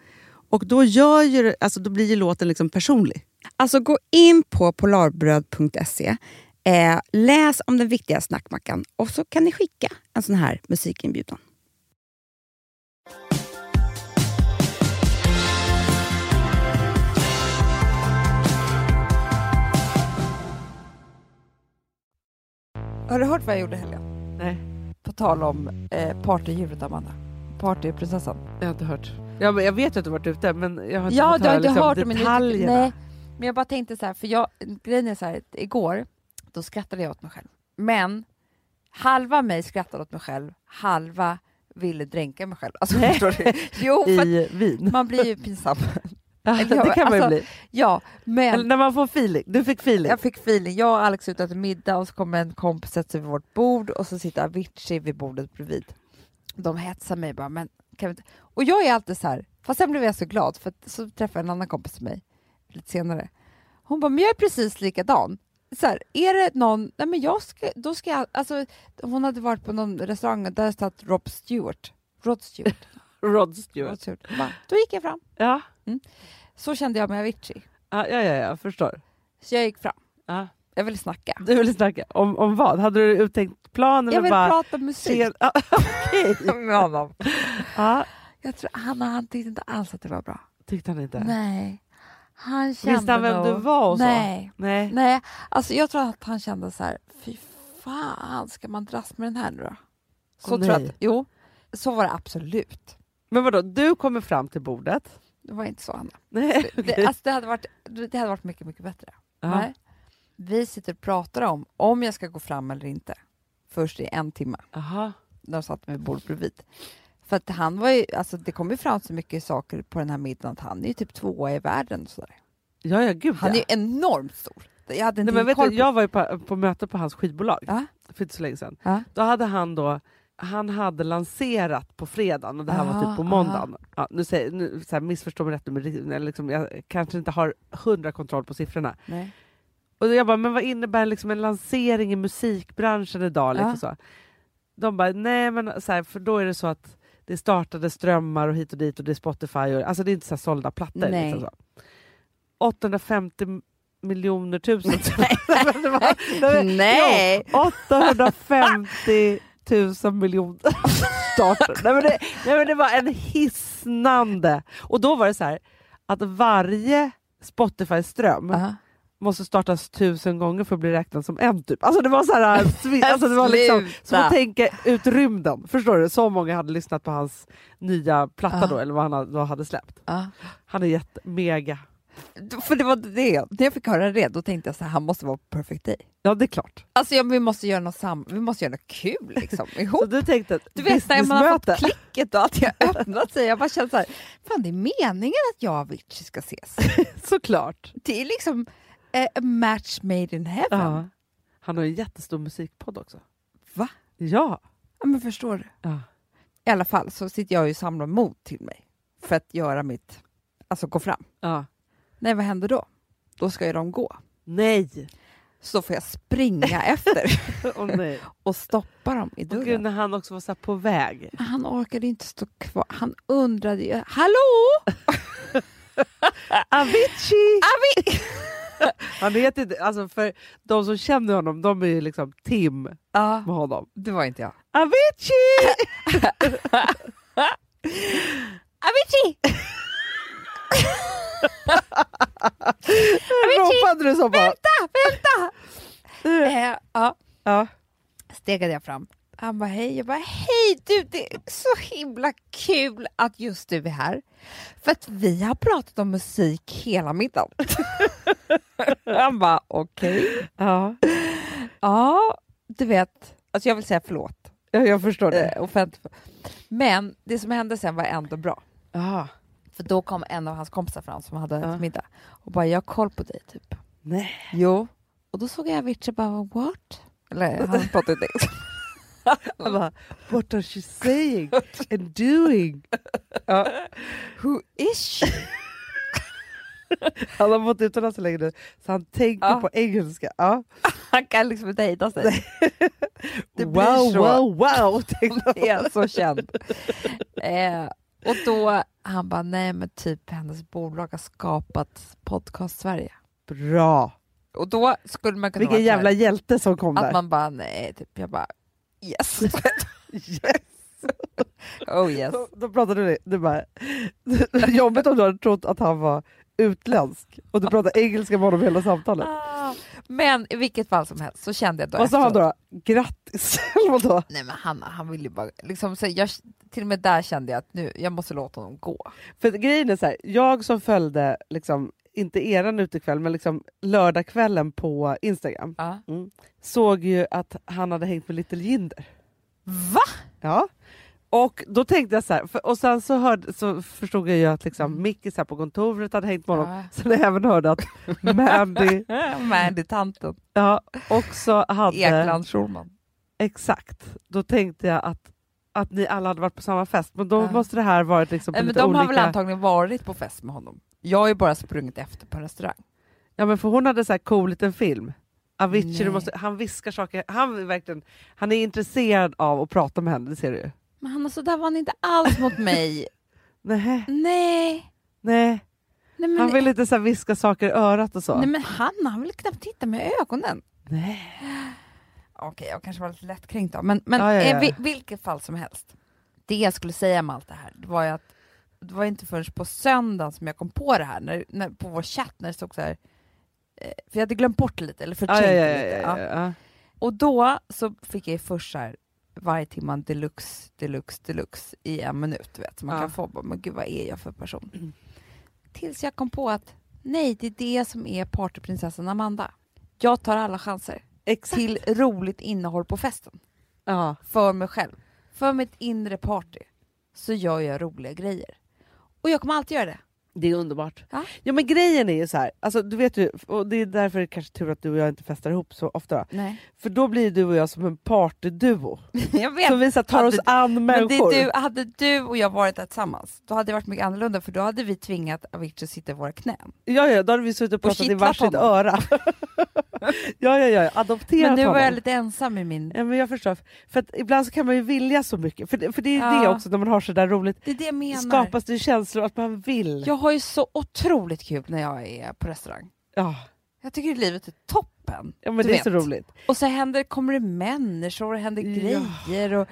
S1: Och då, gör ju, det- alltså, då blir ju låten liksom personlig.
S2: Alltså gå in på polarbröd.se, eh, läs om den viktiga snackmackan och så kan ni skicka en sån här musikinbjudan. Har du hört vad jag gjorde i helgen?
S3: Nej,
S2: På tal om eh, partydjuret Amanda. Partyprinsessan.
S3: jag har inte hört. Ja, men jag vet att du har varit ute, men jag har inte
S2: Ja,
S3: fått
S2: du har
S3: höra
S2: inte
S3: liksom,
S2: hört det, men, du,
S3: detaljerna.
S2: nej, men jag bara tänkte så här, för jag, grejen är så här, att igår då skrattade jag åt mig själv. Men halva mig skrattade åt mig själv, halva ville dränka mig själv. Alltså, förstår du? Jo, för att
S3: I vin.
S2: man blir ju pinsam.
S3: Ja,
S2: Eller jag-
S3: det kan man ju
S2: alltså,
S3: bli.
S2: Ja,
S3: Eller
S2: men
S3: när man får feeling. Du fick feeling.
S2: jag fick feeling. Jag och Alex är ute och äter middag och så kommer en kompis sätta sig vid vårt bord och så sitter Avicii vid bordet bredvid. De hetsar mig bara, men kan vi inte? Och jag är alltid så här, fast sen blev jag så glad för att så träffade jag en annan kompis till mig lite senare. Hon bara, men jag är precis likadan. Så här, är det någon, nej men jag ska, då ska jag, alltså hon hade varit på någon restaurang och där hade stått Rob Stewart. Rod Stewart.
S3: Rod
S2: Rod
S3: Stewart.
S2: Stewart. Hon Bara, då gick jag fram.
S3: Ja,
S2: Så kände jag med Avicii.
S3: ja, ja, ja jag förstår.
S2: Så jag gick fram.
S3: Ja.
S2: Jag ville snacka.
S3: Du ville snacka om, om vad? Hade du uttänkt plan? Eller
S2: Jag ville
S3: bara,
S2: prata musik
S3: Tjena- Ja,
S2: med honom.
S3: ja,
S2: Jag tror, han, han tyckte inte alls att det var bra.
S3: tyckte han inte.
S2: Nej. Han kände
S3: Visste han vem
S2: nog-
S3: du var och så?
S2: Nej.
S3: Nej.
S2: Nej. Alltså, jag tror att han kände så här, fy fan, ska man dras med den här nu då? Så
S3: Åh,
S2: tror jag
S3: nej.
S2: att, jo, så var det absolut.
S3: Men vadå, du kommer fram till bordet?
S2: Det var inte så, Anna.
S3: Nej.
S2: Det, alltså, det, hade varit, det hade varit mycket, mycket bättre.
S3: Ja.
S2: Nej. Vi sitter och pratar om om jag ska gå fram eller inte. Först i en timme.
S3: Aha.
S2: när de satt med bordet bredvid. För att han var ju, alltså det kom ju fram så mycket saker på den här middagen att han är ju typ tvåa i världen och sådär.
S1: Ja, ja gud
S2: Han är
S1: ja.
S2: ju enormt stor. Jag hade inte
S1: Nej, men vet
S2: koll
S1: du, jag var ju på, på möte på hans skivbolag
S2: Ja.
S1: för inte så länge sedan.
S2: Ja.
S1: Då hade han då han hade lanserat på fredagen och det här var
S2: Aha,
S1: typ på
S2: aha.
S1: måndagen. Ja, nu säger, nu, så här, missförstå mig rätt, men det- liksom, jag kanske inte har hundra kontroll på siffrorna.
S2: Nej.
S1: Och jag bara, men vad innebär liksom en lansering i musikbranschen idag? Liksom
S2: Ja.
S1: så. De bara, nej men så här, för då är det så att det startade strömmar och hit och dit och det är Spotify. Och, alltså det är inte så här sålda plattor.
S2: Nej.
S1: Liksom så. 850 miljoner tusen. Det var- det var-
S2: Nej.
S1: Jo, 850 tusen miljoner starter. Nej, men det, nej, men det var en hisnande... Och då var det så här att varje Spotify-ström
S2: Ja.
S1: måste startas tusen gånger för att bli räknad som en typ. Alltså det var så här, svi- alltså det var liksom som att tänka ut rymden. Förstår du? Så många hade lyssnat på hans nya platta
S2: Ja.
S1: då, eller vad han ha- då hade släppt.
S2: Ja.
S1: Han är jätte, mega.
S2: För det var det, när jag fick höra det, då tänkte jag så här, han måste vara på Perfect Day.
S1: Ja det är klart.
S2: Alltså ja, men vi måste göra något sam- vi måste göra något kul liksom,
S1: Så
S2: ihop.
S1: du tänkte att
S2: Du vet när man har fått
S1: businessmöte.
S2: klicket och allt jag har öppnat sig, jag bara känner så här, fan det är meningen att jag och Avicii ska ses.
S1: Såklart.
S2: Det är liksom eh, a match made in heaven.
S1: Ja. Han har ju en jättestor musikpodd också.
S2: Va?
S1: Ja.
S2: Ja, men förstår du?
S1: Ja.
S2: I alla fall så sitter jag ju och samlar mod till mig för att göra mitt, alltså gå fram.
S1: ja.
S2: Nej, vad händer då? Då ska ju de gå.
S1: Nej.
S2: Så då får jag springa efter
S1: Åh nej.
S2: och stoppa dem i
S1: Och gud,
S2: dörren.
S1: när han också var så här på väg.
S2: Men Han orkade inte stå kvar. Han undrade ju, hallå?
S1: Avicii!
S2: Avi!
S1: Han heter inte, alltså för de som känner honom, de är ju liksom Tim
S2: Ja,
S1: med honom.
S2: det var inte jag.
S1: Avicii!
S2: Avicii! Avicii!
S1: Ropade du så bara?
S2: Eh, ja,
S1: Ja.
S2: stegade jag fram. Han bara hej, jag bara hej du, det är så himla kul att just du är här. För att vi har pratat om musik hela middagen. Han bara okej.
S1: Ja.
S2: Ja, du vet, alltså jag vill säga förlåt.
S1: ja, jag förstår det.
S2: Eh, offentligt. Men det som hände sen var ändå bra. Eh.
S1: Ja.
S2: För då kom en av hans kompisar fram som hade
S1: Ja.
S2: ätit middag och bara, jag har koll på dig typ.
S1: Nej.
S2: Jo. Och då såg jag Avicii och bara, what? Eller han pratade inte engelska.
S1: Han bara, what are she saying and doing?
S2: Who is she?
S1: Han har bott utomlands så länge nu, så han tänker
S2: Ja.
S1: på engelska. Ja.
S2: Han kan liksom inte hejda sig. Det blir
S1: wow,
S2: så.
S1: wow, wow, tänkte
S2: Hon är så känd. Eh, och då, han bara, nej men typ hennes bolag har skapat Podcast Sverige.
S1: jag. Bra!
S2: Och då skulle man kunna
S1: Vilken
S2: varit så här,
S1: jävla hjälte som kom där.
S2: Att man bara, nej, typ, jag bara, yes.
S1: Yes.
S2: oh yes.
S1: Då, då pratade du, du bara, jobbigt om du hade trott att han var utländsk och du pratade engelska med honom hela samtalet.
S2: Ah. Men i vilket fall som helst så kände jag då
S1: Vad sa han
S2: efteråt-
S1: då? Grattis! Eller vadå?
S2: Nej men han, han ville ju bara, liksom, så jag, till och med där kände jag att nu, jag måste låta honom gå.
S1: För att grejen är så här, jag som följde, liksom, inte eran utekväll, men liksom lördagskvällen på Instagram,
S2: Ja.
S1: såg ju att han hade hängt med Little Jinder.
S2: Va?
S1: Ja. Och då tänkte jag så här, för, och sen så, hörde, så förstod jag ju att liksom, Micke så här på kontoret hade hängt med honom.
S2: Mm. Ja.
S1: Sen även hörde att Mandy
S2: Ah, Mandy-tanten,
S1: ja, också hade...
S2: Ekland Schulman.
S1: Exakt. Då tänkte jag att, att ni alla hade varit på samma fest, men då
S2: Ja.
S1: måste det här varit liksom på
S2: Nej, men
S1: lite
S2: de har väl
S1: olika...
S2: antagligen varit på fest med honom. Jag har ju bara sprungit efter på en restaurang.
S1: ja, men för hon hade så här cool liten film. Avicii,
S2: Nej.
S1: du måste, han viskar saker. Han är, verkligen, han är intresserad av att prata med henne, det ser du ju.
S2: Men han, så där var han inte alls mot mig.
S1: Nej,
S2: nej.
S1: nej.
S2: Nej men,
S1: Han vill inte så här viska saker i örat och så.
S2: nej, men han, han vill knappt titta med ögonen.
S1: Nej.
S2: Okej, jag kanske var lite lättkränkt då. Men, men
S1: Ja, ja, ja.
S2: eh, vi, vilket fall som helst. Det jag skulle säga med allt det här det var ju att det var inte förrän på söndagen som jag kom på det här, när, när, på vår chatt, när det stod så här. eh, För jag hade glömt bort det lite, eller
S1: Ja,
S2: förträngt
S1: ja,
S2: det
S1: ja,
S2: lite.
S1: ja, ja,
S2: Ja.
S1: ja.
S2: Och då så fick jag ju först så här, varje timme en deluxe, deluxe, deluxe i en minut. du Vet. Så man
S1: Ja. Mm.
S2: kan få bara, men gud vad är jag för person? Tills jag kom på att nej, det är det som är partyprinsessan Amanda. Jag tar alla chanser
S1: Exakt.
S2: till roligt innehåll på festen.
S1: Ja.
S2: För mig själv. För mitt inre party. Så gör jag roliga grejer. Och jag kommer alltid göra det.
S1: Det är underbart.
S2: Ja.
S1: Ja, men grejen är ju så här, alltså, du vet ju, och det är därför det kanske är tur att du och jag inte festar ihop så ofta.
S2: Nej.
S1: För då blir du och jag som en partyduo.
S2: Jag vet.
S1: Som vi så här, tar
S2: Ja,
S1: oss
S2: det-
S1: an
S2: Men det,
S1: människor.
S2: du, hade du och jag varit där tillsammans, då hade det varit mycket annorlunda för då hade vi tvingat Avicii att sitta i våra knän.
S1: Ja, ja, då hade vi suttit och pratat i
S2: kittlat
S1: varsitt
S2: honom.
S1: öra. ja, ja, ja, adopterat
S2: Men nu
S1: honom.
S2: var jag lite ensam i min...
S1: Ja, men jag förstår. För att ibland så kan man ju vilja så mycket. För det, för det är ju det
S2: Ja.
S1: också när man har så där roligt.
S2: Det är det jag menar.
S1: Skapas det ju känslor att man vill.
S2: Jag har ju så otroligt kul när jag är på restaurang.
S1: Ja,
S2: Jag tycker livet är toppen.
S1: ja men
S2: Du
S1: det är så
S2: vet.
S1: roligt.
S2: Och så händer, kommer det människor och det händer
S1: Ja.
S2: grejer. Och,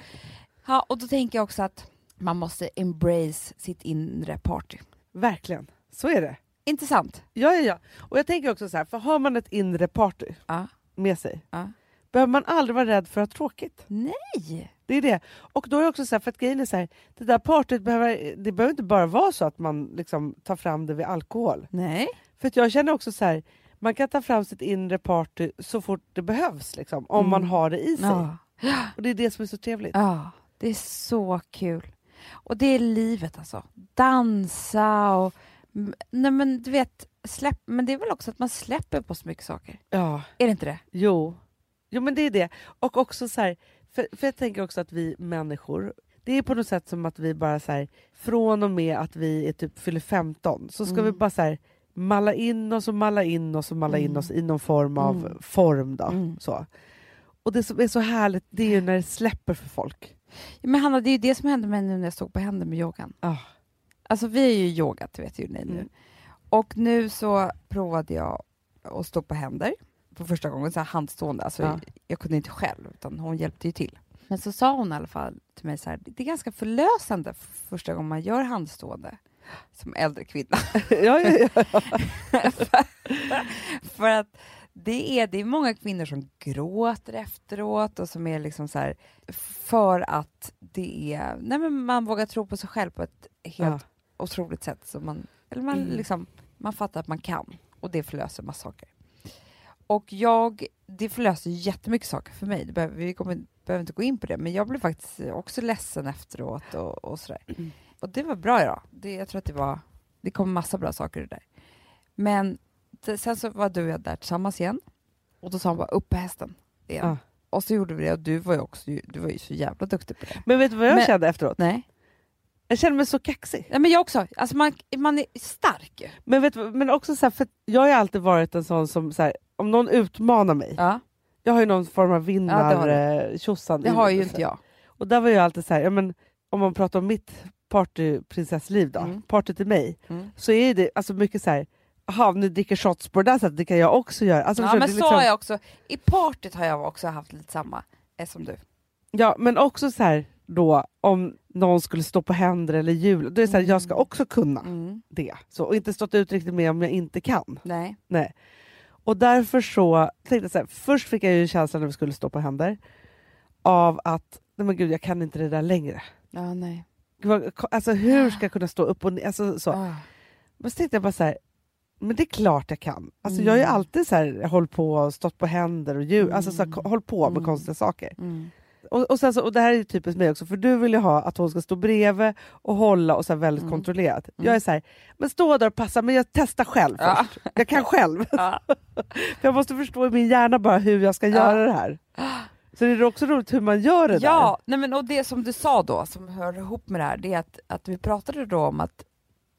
S2: ja, och då tänker jag också att man måste embrace sitt inre party.
S1: Verkligen. Så är det.
S2: Intressant.
S1: Ja, ja, ja. Och jag tänker också så här, för har man ett inre party
S2: Ja.
S1: med sig
S2: Ja.
S1: behöver man aldrig vara rädd för att ha tråkigt.
S2: Nej.
S1: Det är det. Och då är det också så här, för att grejen är så här, det där partyt behöver, det behöver inte bara vara så att man liksom tar fram det vid alkohol.
S2: Nej.
S1: För att jag känner också så här, man kan ta fram sitt inre party så fort det behövs, liksom, om
S2: Mm.
S1: man har det i sig.
S2: Ja.
S1: Och det är det som är så trevligt.
S2: ja, det är så kul. Och det är livet alltså. Dansa och... m- Nej men du vet, släpp, men det är väl också att man släpper på så mycket saker?
S1: Ja,
S2: Är det inte det?
S1: jo. Jo men det är det. Och också så här, för, för jag tänker också att vi människor, det är på något sätt som att vi bara så här, från och med att vi är typ fyller 15 så ska
S2: Mm.
S1: vi bara så här, malla in oss och malla in oss och malla in
S2: Mm.
S1: oss i någon form av
S2: Mm.
S1: form då.
S2: Mm.
S1: Så. Och det som är så härligt det är ju när det släpper för folk.
S2: Ja, Men Hanna, det är ju det som hände mig nu när jag stod på händer med yogan.
S1: Ah.
S2: Alltså vi har ju yogat, det vet ju ni nu.
S1: Mm.
S2: Och nu så provade jag att stå på händer för första gången, så här handstående. Alltså,
S1: Ja.
S2: Jag kunde inte själv, utan hon hjälpte ju till. Men så sa hon i alla fall till mig så här, det är ganska förlösande för första gången man gör handstående som äldre kvinna.
S1: ja, ja, ja.
S2: för, för att det är, det är många kvinnor som gråter efteråt och som är liksom så här, för att det är, nej men man vågar tro på sig själv på ett helt
S1: Ja.
S2: otroligt sätt. Så man, eller man,
S1: Mm.
S2: liksom, man fattar att man kan och det förlöser massa saker. Och jag, det förlöser jättemycket saker för mig, det behöver, vi kommer, behöver inte gå in på det, men jag blev faktiskt också ledsen efteråt och, och sådär. Och det var bra idag. Det, jag tror att det var, det kom massa bra saker ur det där. Men det, sen så var du och jag där tillsammans igen och då sa han bara upp på hästen igen.
S1: Ja.
S2: Och så gjorde vi det och du var ju också, du var ju så jävla duktig på det.
S1: Men vet du vad jag
S2: Men-
S1: kände efteråt?
S2: Nej.
S1: Jag kände mig så kaxig.
S2: Nej, men jag också. Alltså man, man är stark. ju.
S1: Men, vet, du- men också så här, för att jag har ju alltid varit en sån som, så här, om någon utmanar mig,
S2: Ja,
S1: jag har ju någon form av
S2: Ja, det har du.
S1: vinnartjosan.
S2: det
S1: i
S2: har
S1: mig,
S2: ju
S1: så
S2: inte
S1: här.
S2: jag.
S1: Och där var jag alltid så här, ja, men, om man pratar om mitt partyprinsessliv då,
S2: Mm.
S1: party till mig,
S2: Mm.
S1: så är det alltså mycket så här, jaha nu dricker shots på det där sättet, det kan jag också göra. Alltså,
S2: Ja,
S1: förstår du?
S2: men
S1: Det är
S2: så har jag också. I partyt har jag också haft lite samma eh, som du.
S1: ja, men också så här då, om någon skulle stå på händer eller hjul, då är det så här,
S2: Mm.
S1: jag ska också kunna
S2: Mm.
S1: det. Så, och inte stått ut riktigt med om jag inte kan.
S2: Nej.
S1: Och därför så tänkte jag så här, först fick jag ju känslan när vi skulle stå på händer av att, nej men gud jag kan inte det där längre.
S2: Ja, nej.
S1: Gud, vad- Alltså hur ska jag kunna stå upp och ner? Alltså, så.
S2: Ah.
S1: Men så tänkte jag bara så här, men det är klart jag kan. Alltså jag har ju
S2: Mm.
S1: alltid så här, hållit på och stått på händer och djur, alltså så här,
S2: Mm.
S1: hållit på med
S2: Mm.
S1: konstiga saker.
S2: Mm.
S1: Och, och, sen så, och det här är ju typiskt mig också, för du vill ju ha att hon ska stå bredvid och hålla och så här väldigt
S2: Mm.
S1: kontrollerat.
S2: Mm. Ah.
S1: Jag är så här, men stå där och passa, men jag testar själv
S2: Ja.
S1: först. Jag kan själv.
S2: Ja.
S1: För jag måste förstå i min hjärna bara hur jag ska
S2: Ja.
S1: göra det här. Så det är också roligt hur man gör det
S2: Ja, nej men, och det som du sa då, som hör ihop med det här, det är att, att vi pratade då om att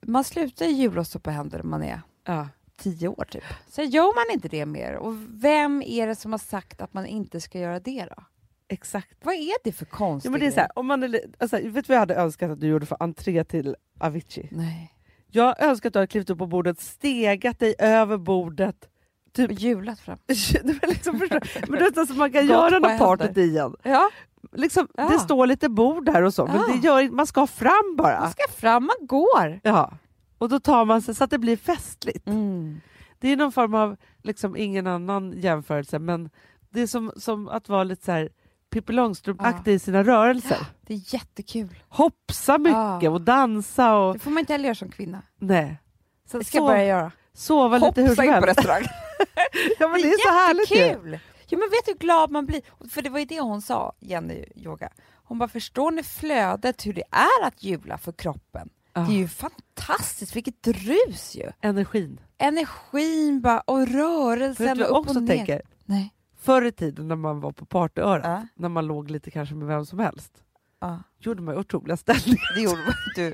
S2: man slutar ju jula och stå på händer när man är
S1: där. Ja.
S2: tio år typ. Sen gör man inte det mer. Och vem är det som har sagt att man inte ska göra det då?
S1: Exakt.
S2: Vad är det för konstigt?
S1: Ja, men det är så här, om man är, li- alltså, vet du vad jag hade önskat att du gjorde för entré till Avicii?
S2: Nej.
S1: Jag önskar att du hade klivit upp på bordet, stegat dig över bordet.
S2: Och Julat fram.
S1: Det var liksom, förstår- men du vet, alltså, man kan
S2: Gått
S1: göra
S2: på
S1: när partyt
S2: händer.
S1: igen.
S2: Ja,
S1: Liksom,
S2: Ja.
S1: Det står lite bord här och så, men
S2: Ja.
S1: det gör, man ska fram bara.
S2: man ska fram, man går.
S1: Ja. Och då tar man sig så att det blir festligt.
S2: Mm.
S1: Det är någon form av, liksom ingen annan jämförelse, men det är som, som att vara lite så här Pippi Långstrump-aktig i sina rörelser.
S2: Det är jättekul.
S1: Hopsa mycket
S2: Ja.
S1: och dansa och...
S2: Det får man inte heller göra som kvinna.
S1: Nej. Sen
S2: Det ska jag
S1: sov-
S2: börja göra.
S1: sova lite hur
S2: Hopsa
S1: som
S2: in på
S1: helst.
S2: restaurang.
S1: Ja, men det är så härligt ju.
S2: Jättekul! Ja, men vet du hur glad man blir? För det var ju det hon sa, Jenny Yoga. Hon bara, förstår ni flödet, hur det är att jula för kroppen? Det är
S1: Ah.
S2: ju fantastiskt, vilket rus ju!
S1: Energin.
S2: Energin bara, och
S1: Vet
S2: rörelsen
S1: du vad
S2: och
S1: jag
S2: upp
S1: också
S2: och ner.
S1: tänker?
S2: Nej.
S1: Förr i tiden när man var på partyörat,
S2: Ja.
S1: när man låg lite kanske med vem som helst,
S2: Ja.
S1: gjorde man ju otroliga ställningar.
S2: Det gjorde man du,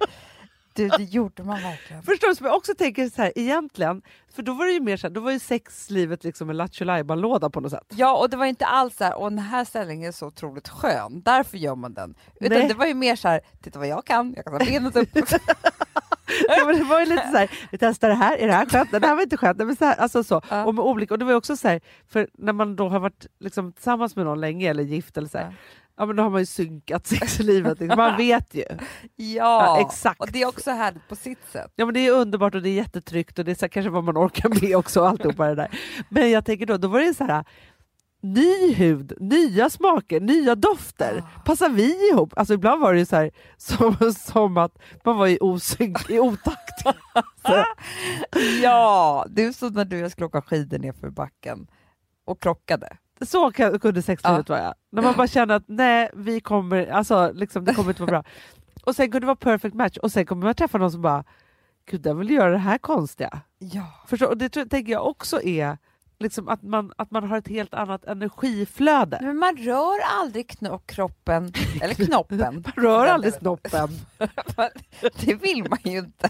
S2: du, det gjorde man verkligen.
S1: Förstår du? Som jag också tänker så här egentligen, för då var det ju mer så här, då var ju sexlivet liksom en Lattjo låda på något sätt.
S2: Ja, och det var inte alls så här, och den här ställningen är så otroligt skön, därför gör man den. Utan
S1: Nej.
S2: det var ju mer så här, titta vad jag kan, jag kan ta benet upp.
S1: Ja, men det var ju lite så här, vi testar det här, är det här skönt? Nej, det här var inte skönt. Nej, men så här, alltså så.
S2: Ja.
S1: Och, med olika, och det var ju också så här, för när man då har varit liksom, tillsammans med någon länge eller gift eller så här, ja.
S2: Ja.
S1: men då har man ju synkat sexlivet. liksom. Man vet ju.
S2: ja,
S1: Ja, exakt.
S2: och det är också härligt på sitt sätt.
S1: Ja, men det är underbart och det är jättetryggt och det är så här, kanske vad man orkar med också. och Alltihopa det där. Men jag tänker då, då var det ju så här, ny hud, nya smaker, nya dofter. Passar vi ihop? Alltså ibland var det ju så här, som, som att man var i osynk, i otakt.
S2: Ja, det är så när du och jag skulle åka skidor ner för backen och krockade.
S1: Så kan- kunde sexlivet vara. När man bara känner att nej, vi kommer, alltså, liksom, det kommer inte vara bra. Och sen kunde det vara perfect match och sen kommer man träffa någon som bara, gud den vill göra det här konstiga.
S2: Ja.
S1: Förstår? Och det tror, tänker jag också är liksom, att, man, att man har ett helt annat energiflöde.
S2: Men man rör aldrig kno- kroppen, eller knoppen.
S1: Man rör aldrig snoppen.
S2: det vill man ju inte.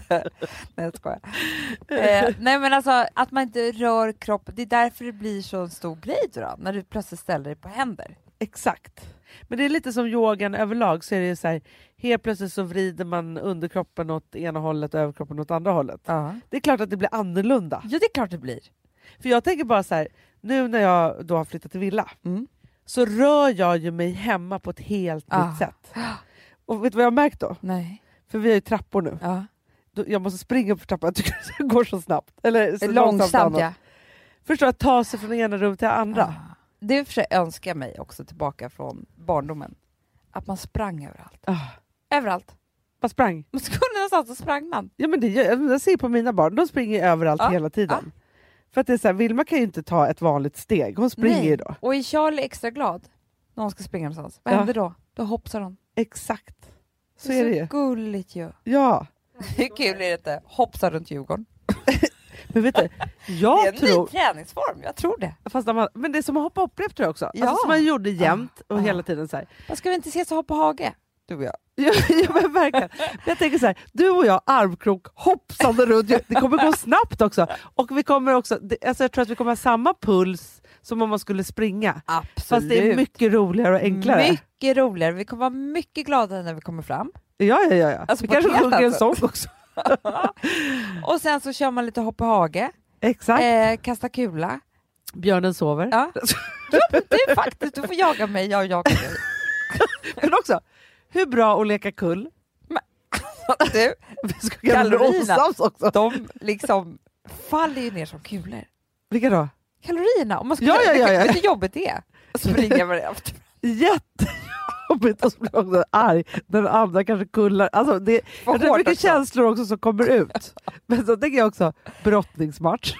S2: Nej, jag skojar. Eh, nej, men alltså att man inte rör kroppen. Det är därför det blir så en stor grej då, när du plötsligt ställer dig på händer.
S1: Exakt. Men det är lite som yogan överlag, så är det ju så här, helt plötsligt så vrider man underkroppen åt ena hållet och överkroppen åt andra hållet.
S2: Ja.
S1: Det är klart att det blir annorlunda.
S2: ja, det är klart det blir.
S1: För jag tänker bara så här, nu när jag då har flyttat till villa,
S2: Mm.
S1: så rör jag ju mig hemma på ett helt
S2: Ah.
S1: nytt sätt. Och vet du vad jag har märkt då?
S2: Nej.
S1: För vi har ju trappor nu.
S2: Ja.
S1: Då- Jag måste springa upp för trappan, jag tycker att det går så snabbt. Eller så
S2: Långsamt
S1: annars.
S2: ja.
S1: Förstår du? att ta sig från ena rummet till andra.
S2: Ja. Det är i och för sig önskar jag mig också tillbaka från barndomen. Att man sprang överallt.
S1: Ah.
S2: Överallt.
S1: Bara sprang.
S2: Man skulle någonstans och sprang man.
S1: Ja, men det, gör- jag ser på mina barn, de springer ju överallt
S2: Ja,
S1: hela tiden.
S2: Ah.
S1: För att det är så här, Vilma kan ju inte ta ett vanligt steg, hon springer
S2: Nej.
S1: ju då.
S2: Och är Charlie extra glad när hon ska springa någonstans, vad
S1: Ja.
S2: händer då? Då hoppsar hon.
S1: Exakt. Så är det ju.
S2: gulligt ju.
S1: Ja.
S2: Hur kul är det inte? Hoppsa runt Djurgården.
S1: Men vet du,
S2: Det är
S1: jag
S2: en
S1: tror...
S2: ny träningsform, jag tror det.
S1: Fast när man, men det är som att hoppa hopprep tror jag också.
S2: Ja.
S1: Alltså, som man gjorde jämt och
S2: Ah, ah.
S1: hela tiden så här.
S2: Vad ska vi inte ses och hoppa hage? Du och jag.
S1: Ja, ja, men verkligen. Men jag tänker så här, du och jag armkrok hoppsande runt. Det kommer gå snabbt också. Och vi kommer också det, alltså jag tror att vi kommer ha samma puls som om man skulle springa.
S2: Absolut.
S1: Fast det är mycket roligare och enklare.
S2: Mycket roligare. Vi kommer vara mycket glada när vi kommer fram.
S1: Ja, ja, ja. ja.
S2: Alltså,
S1: vi
S2: på
S1: kanske
S2: ett helt
S1: sjunger en sång
S2: annat
S1: också.
S2: och sen så kör man lite hoppa hage,
S1: Exakt.
S2: eh, kasta kula.
S1: Björnen sover.
S2: Ja. ja, men du faktiskt, du får jaga mig, jag jagar dig.
S1: Men också, hur bra att leka kull.
S2: Du,
S1: Vi ska kunna bli
S2: Kalorierna.
S1: osams också.
S2: de liksom faller ju ner som kulor.
S1: Vilka då?
S2: Kalorierna, om man ska,
S1: Ja, ja, ja, ja.
S2: vet du hur jobbigt det är? Att Springa med det efter.
S1: Jättejobbigt och så blir jag också arg när den andra kanske kullar. Alltså, det,
S2: Vad
S1: Jag tror det är
S2: hårt
S1: mycket
S2: också.
S1: känslor också som kommer ut. Men så tänker jag också, brottningsmatch.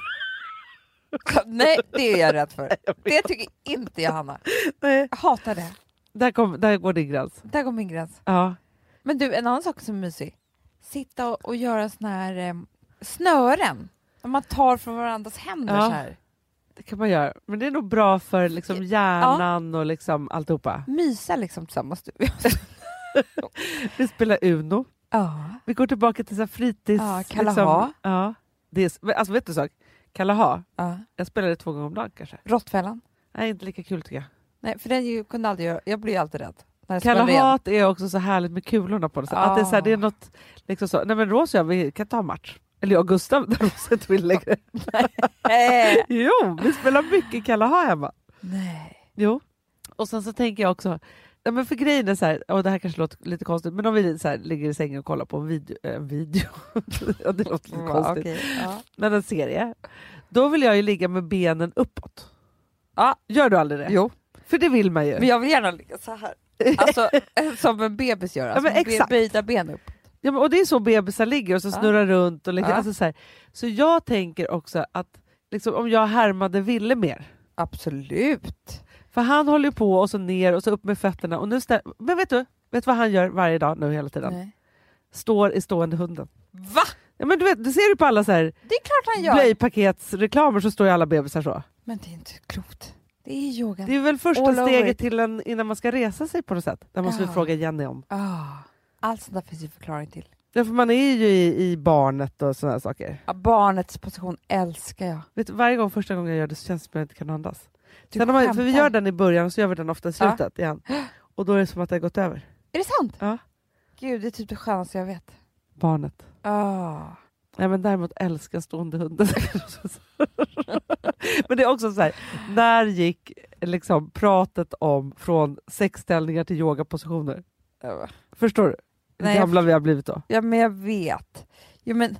S2: Nej, det är jag rädd för. Det tycker inte jag, Hanna.
S1: Nej,
S2: Jag hatar det.
S1: där, kom, där går din gräns.
S2: Där går min gräns.
S1: Ja.
S2: Men du, en annan sak som är mysig. Sitta och, och göra såna här eh, snören. Om man tar från varandras händer
S1: Ja.
S2: så här.
S1: Det kan man göra. Men det är nog bra för liksom hjärnan och liksom alltihopa.
S2: Mysa liksom tillsammans. Du.
S1: Vi spelar Uno.
S2: Ja.
S1: Vi går tillbaka till så här fritids...
S2: Ja, Kalaha.
S1: Liksom, ja. det är, s- men alltså vet du en sak? Kalaha,
S2: ja.
S1: jag spelar det två gånger om dagen kanske.
S2: Råttfällan.
S1: Nej, inte lika kul tycker jag.
S2: Nej, för den ju, kunde aldrig göra. Jag blir ju alltid rädd. När jag spelar igen. Ah.
S1: Kalahat är också så härligt med kulorna på något sätt. Att det, är så här, det är något, liksom så. Nej men Rose och jag, vi kan ta match. Eller jag och Gustav, när Rose inte vill längre.
S2: Eh,
S1: Jo, vi spelar mycket Kalaha hemma.
S2: Nej.
S1: Jo. Och sen så tänker jag också, ja, men för grejen är så här, och det här kanske låter lite konstigt, men om vi så här, ligger i sängen och kollar på en video, eh, en video. ja, det låter lite
S2: Ja,
S1: konstigt,
S2: okej. Ja.
S1: men en serie. Då vill jag ju ligga med benen uppåt. Ja, gör du aldrig det?
S2: Jo,
S1: För det vill man ju.
S2: men jag vill gärna ligga så här. Alltså, eh, som en bebis gör. Alltså,
S1: men
S2: be-
S1: exakt.
S2: Böjda ben upp.
S1: Ja, men, och det är så bebisar ligger och så
S2: Ja.
S1: snurrar runt. Och ligger,
S2: Ja.
S1: alltså, så, här. så jag tänker också att liksom, om jag härmade Ville mer,
S2: Absolut.
S1: För han håller ju på och så ner och så upp med fötterna. Och nu stä- men vet du vet du vad han gör varje dag nu hela tiden?
S2: Nej.
S1: står i stående hunden.
S2: Va?
S1: Ja, men du vet, det ser du på alla så här
S2: Det är klart han gör!
S1: blöjpaketsreklamer så står ju alla bebisar så.
S2: Men det är inte klokt. Det är yogan.
S1: Det är väl första
S2: All over
S1: steget
S2: it.
S1: till en, innan man ska resa sig på något sätt. Där måste vi
S2: Ja.
S1: fråga Jenny om.
S2: Ah, allt sånt där finns ju förklaring till.
S1: Därför man är ju i, i barnet och sådana saker.
S2: Ja, barnets position älskar jag.
S1: Vet, du, varje gång första gången jag gör det så känns det som att jag inte kan andas.
S2: Du
S1: Sen har man, för
S2: skämtar.
S1: vi gör den i början och så gör vi den ofta i
S2: Ja.
S1: slutet igen. Och då är det som att det har gått över.
S2: Är det sant?
S1: Ja.
S2: Gud, det är typ det skönaste jag vet.
S1: Barnet.
S2: Ah.
S1: Nej, men däremot älskar stående hunden. men det är också så här, när gick liksom pratet om från sexställningar till yogapositioner? Förstår du? Hur
S2: Nej, jag
S1: gamla vi har blivit då?
S2: Ah. Ja, men jag vet. Ja, men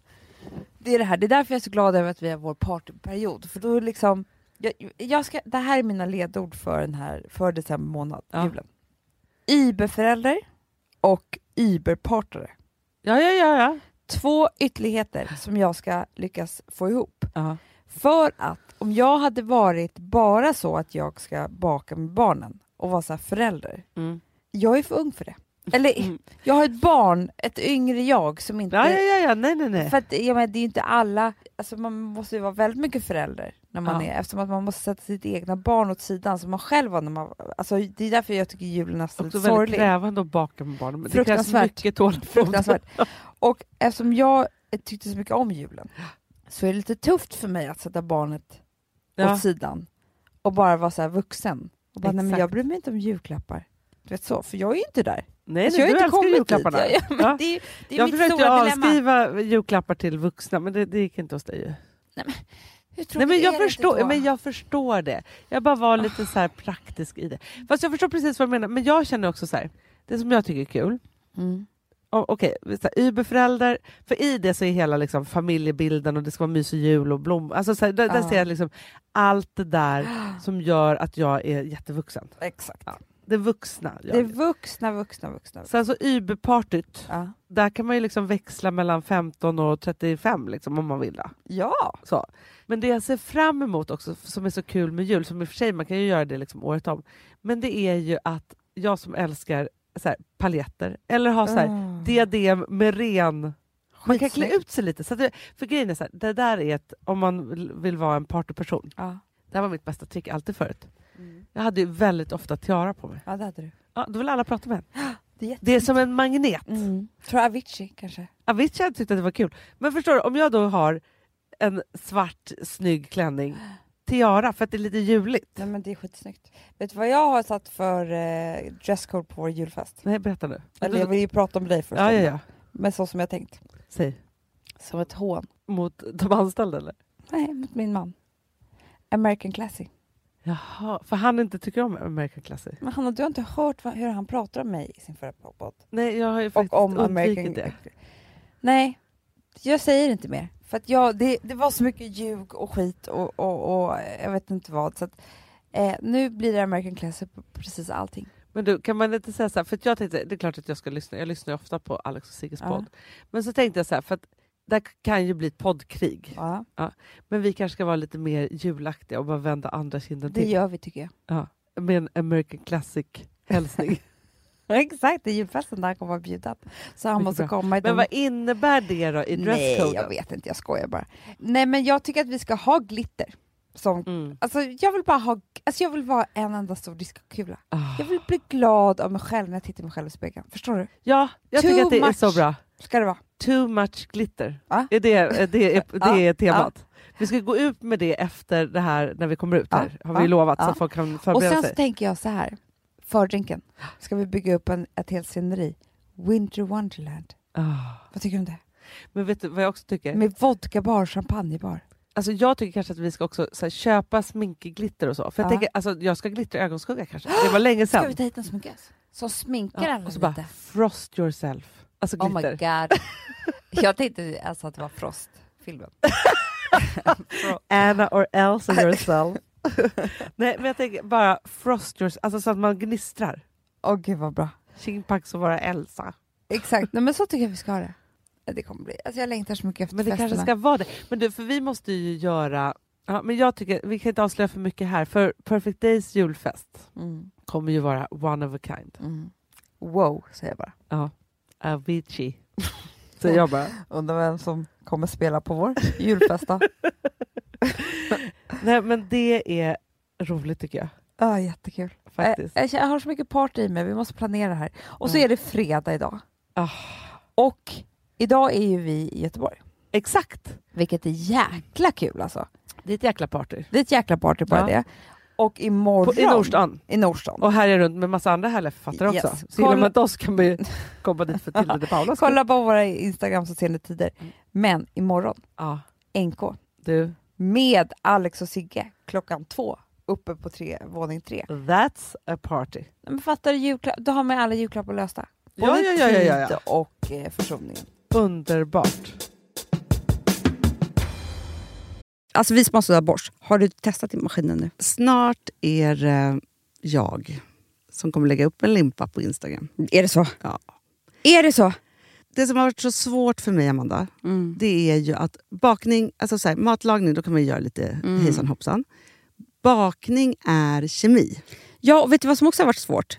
S2: det är det här. Det är därför jag är så glad över att vi har vår partyperiod. För då liksom... Jag, jag ska, det här är mina ledord för, den här, för december månad,
S1: Ja.
S2: julen. Iberförälder och iberpartare.
S1: Ja, ja, ja. ja.
S2: Två ytterligheter som jag ska lyckas få ihop.
S1: Ja.
S2: För att om jag hade varit bara så att jag ska baka med barnen och vara så här förälder,
S1: Mm.
S2: jag är för ung för det. Eller
S1: Mm.
S2: jag har ett barn, ett yngre jag som inte...
S1: Ja, ja, ja, ja, nej, nej, nej.
S2: För att, jag menar, det är ju inte alla, alltså man måste ju vara väldigt mycket förälder när man
S1: Ja.
S2: är, eftersom att man måste sätta sitt egna barn åt sidan som man själv var när man alltså Det är därför jag tycker julen är nästan
S1: Också
S2: lite
S1: väldigt
S2: sorglig.
S1: krävande att baka med barn. Men det krävs
S2: Fruktansvärt.
S1: mycket tålamod.
S2: Fruktansvärt. Och eftersom jag tyckte så mycket om julen så är det lite tufft för mig att sätta barnet
S1: Ja.
S2: åt sidan och bara vara så här vuxen. Och bara, nej, men
S1: Exakt.
S2: jag bryr mig inte om julklappar. Du vet så, för jag är ju inte där.
S1: Nej,
S2: Alltså,
S1: nej,
S2: jag har
S1: du
S2: inte
S1: älskar julklapparna.
S2: kommit dit. Ja, ja, men
S1: Ja.
S2: Det är, det är
S1: jag
S2: mitt
S1: försökte
S2: stora dilemma.
S1: avskriva julklappar till vuxna, men det, det gick inte hos dig ju.
S2: Hur
S1: Nej,
S2: tråkigt
S1: men,
S2: är
S1: jag
S2: det inte
S1: förstår,
S2: då?
S1: men jag förstår det. Jag bara var lite så här praktisk i det. Fast jag förstår precis vad du menar, men jag känner också så här, det som jag tycker är kul,
S2: Mm.
S1: o- okej, okay, Uberförälder, för i det så är hela liksom, familjebilden och det ska vara mys och jul och blommor. Alltså, så här, där, där
S2: Ja.
S1: ser jag liksom allt det där som gör att jag är jättevuxen.
S2: Exakt.
S1: Ja, Det vuxna. gör
S2: Det är
S1: det.
S2: vuxna, vuxna, vuxna.
S1: Sen så alltså Uberpartyt,
S2: Ja.
S1: där kan man ju liksom växla mellan 15 och 35 liksom, om man vill. Då.
S2: ja.
S1: Så. Men det jag ser fram emot också, f- som är så kul med jul, som i och för sig man kan ju göra det liksom året om, men det är ju att jag som älskar så här, paljetter, eller ha så här,
S2: Mm.
S1: diadem med ren... Man kan klä
S2: Skitsnyggt.
S1: ut sig lite. Så att det, för grejen är så här, det där är ett, om man vill- vill vara en partyperson,
S2: Ja.
S1: det här var mitt bästa trick alltid förut.
S2: Mm.
S1: Jag hade ju väldigt ofta tiara på mig.
S2: ja, det hade du.
S1: Ja, då vill alla prata med en.
S2: Det är jätte-
S1: Det är som en magnet.
S2: Mm. Tror Avicii kanske.
S1: Avicii hade tyckt att det var kul. Men förstår du, om jag då har en svart snygg klänning, tiara, för att det är lite juligt.
S2: Nej, men det är skitsnyggt. Vet du vad jag har satt för eh, dresscode på vår julfest?
S1: Nej, berätta nu.
S2: Eller jag vill ju prata med dig först.
S1: ja,
S2: om
S1: ja,
S2: det.
S1: ja.
S2: Men så som jag tänkt.
S1: Säg.
S2: Som ett hån.
S1: Mot de anställda eller?
S2: Nej, mot min man. American Classy.
S1: Jaha, för han inte tycker om American Classy.
S2: Men Hanna, du har inte hört vad, hur han pratar om mig i sin förra podd?
S1: Nej, jag har ju faktiskt
S2: Och om
S1: undvikit
S2: American...
S1: det.
S2: Nej, jag säger inte mer. För att jag, det, det var så mycket ljug och skit och, och, och eh, jag vet inte vad. Så att, eh, nu blir det American Classy på precis allting.
S1: Men du, kan man inte säga så här, för att jag tänkte, det är klart att jag ska lyssna, jag lyssnar ju ofta på Alex och Sigges
S2: Ja.
S1: podd. Men så tänkte jag så här, för att det kan ju bli ett poddkrig.
S2: Ja,
S1: Men vi kanske ska vara lite mer julaktiga och bara vända andra kinden
S2: det
S1: till.
S2: gör vi tycker jag.
S1: Med en American Classic-hälsning.
S2: Exakt, det är julfesten där han kommer att vara bjuden. Så han
S1: Mycket
S2: måste
S1: bra.
S2: komma i
S1: Men
S2: de-
S1: vad innebär det då i
S2: Nej,
S1: dresscoden?
S2: jag vet inte, jag skojar bara. Nej, men jag tycker att vi ska ha glitter. Som,
S1: Mm.
S2: alltså, jag vill bara ha, alltså, jag vill vara en enda stor diskokula.
S1: Ah.
S2: Jag vill bli glad av mig själv när jag tittar mig själv i spegeln. Förstår du?
S1: Ja, jag
S2: Too
S1: tycker att det är så
S2: much. Ah.
S1: bra.
S2: Ska det vara.
S1: Too much glitter.
S2: Ja.
S1: Är det, är det, är, det
S2: Ja,
S1: är temat.
S2: Ah.
S1: Vi ska gå ut med det efter det här, när vi kommer ut
S2: Ja,
S1: här, har vi
S2: ja,
S1: ju lovat, så
S2: ja.
S1: att folk kan
S2: Ah. Och
S1: förbereda
S2: sen så
S1: sig.
S2: tänker jag så här, fördrinken, ska vi bygga upp en, ett helt sceneri. Winter Wonderland.
S1: Ah.
S2: Vad tycker du om det?
S1: Men vet du vad jag också tycker?
S2: Med vodkabar och champagnebar.
S1: Alltså, jag tycker kanske att vi ska också så här, köpa sminkglitter och så. För jag
S2: Ja.
S1: tänker, alltså, jag ska glittra i ögonskugga kanske. Det var länge
S2: Ah. Ska vi
S1: sedan.
S2: ta hit någon sminkös? Som sminkar
S1: Ja,
S2: alla
S1: och så
S2: lite?
S1: bara frost yourself. Alltså
S2: oh my
S1: glitter.
S2: god. jag tänkte alltså att det var Frost-filmen.
S1: Anna or Elsa yourself. Nej men jag tänker bara frost yourself, alltså så att man gnistrar.
S2: Åh gud vad bra.
S1: Chimpax och vara Elsa.
S2: Exakt, Nej, men så tycker jag vi ska ha det. Ja, Det kommer bli, alltså jag längtar så mycket efter
S1: Men det kanske
S2: festerna.
S1: ska vara det. Men du, för vi måste ju göra... Ja, men jag tycker, vi kan inte avslöja för mycket här, för Perfect Days julfest
S2: Mm,
S1: kommer ju vara one of a kind.
S2: mm. Wow, säger jag bara.
S1: Avicii.
S4: Så jag bara,
S5: Undrar vem som kommer spela på vår julfest då?
S4: nej men det är roligt tycker jag.
S5: Ja, jättekul. Eh,
S4: Faktiskt.
S5: Jag, jag, känner- jag har så mycket party i mig, vi måste planera här. Och så
S4: Ja.
S5: är det fredag idag.
S4: Ah.
S5: Och idag är ju vi i Göteborg,
S4: Exakt!
S5: vilket är jäkla kul alltså.
S4: Det är ett jäkla party.
S5: Det är ett jäkla party bara
S4: Ja.
S5: det. Och imorgon...
S4: På, I Nordstan.
S5: I Nordstan.
S4: Och här är jag runt med massa andra härliga författare
S5: Yes.
S4: också. Så gillar
S5: Kolla-
S4: man inte oss kan man ju komma dit för Tilde de Paulas skull.
S5: Kolla på våra Instagram så ser ni tider. Men imorgon,
S4: Ja,
S5: NK,
S4: du,
S5: med Alex och Sigge klockan två uppe på tre, våning tre.
S4: that's a party.
S5: Nej, Men fattar du julklapp? Då har man alla julklappar lösta.
S4: Ja, ja, ja, ja, ja, ja.
S5: tid och eh, försoningen.
S4: Underbart.
S5: Alltså vi som har sådär borst, har du testat i maskinen nu?
S1: Snart är eh, jag som kommer lägga upp en limpa på Instagram.
S5: Är det så?
S1: Ja.
S5: Är det så?
S1: Det som har varit så svårt för mig, Amanda,
S5: Mm.
S1: det är ju att bakning, alltså så här, matlagning, då kan man ju göra lite
S4: Mm.
S1: hejsan hoppsan. Bakning är kemi.
S2: Ja, och vet du vad som också har varit svårt?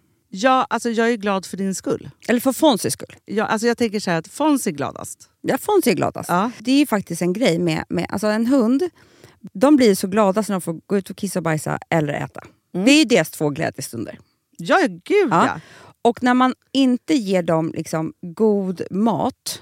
S1: Ja, alltså jag är glad för din skull.
S2: Eller för Fonzys skull.
S1: Jag, alltså jag tänker så här att Fons är gladast.
S2: Ja, Fonzie är gladast.
S1: Ja.
S2: alltså. Det är ju faktiskt en grej med, med alltså en hund. De blir så glada när de får gå ut och kissa och bajsa eller äta.
S1: Mm.
S2: Det är ju deras två glädjestunder.
S1: Ja, gud
S2: Ja.
S1: ja.
S2: Och när man inte ger dem liksom god mat,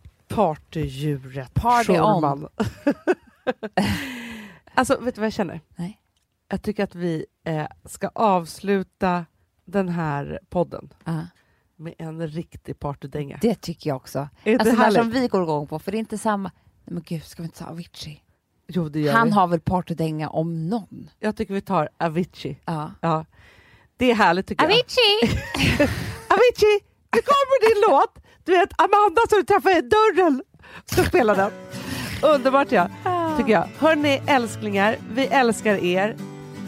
S6: Partydjuret
S7: Party on.
S6: Schulman. alltså, vet du vad jag känner?
S7: Nej.
S6: Jag tycker att vi eh, ska avsluta den här podden
S7: Ja.
S6: med en riktig partydänga.
S7: Det tycker jag också.
S6: Är det
S7: Alltså det här
S6: härligt?
S7: som vi går igång på, för det är inte samma... Nej, men gud, ska vi inte ta Avicii?
S6: Jo, det gör
S7: Han
S6: vi.
S7: har väl partydänga om någon?
S6: Jag tycker vi tar Avicii.
S7: Ja.
S6: Ja. Det är härligt tycker jag.
S7: Avicii!
S6: Avicii, nu kommer din låt! Du vet Amanda som du träffade i dörren ska spela den. Underbart ja, tycker jag. Hörni älsklingar, vi älskar er.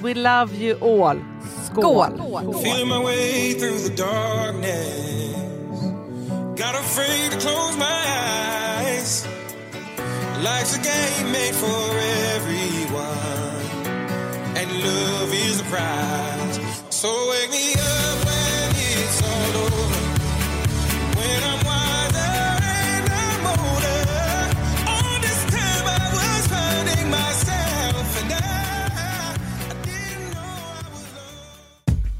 S6: We love you all.
S7: Skål!
S8: Feeling my way through the darkness. Not afraid to close my eyes. Life's a game made for everyone. And love is the prize. So wake me up when it's all over. When I'm wiser and I'm older. All this time I was finding myself. And I, I didn't know I was. Loved.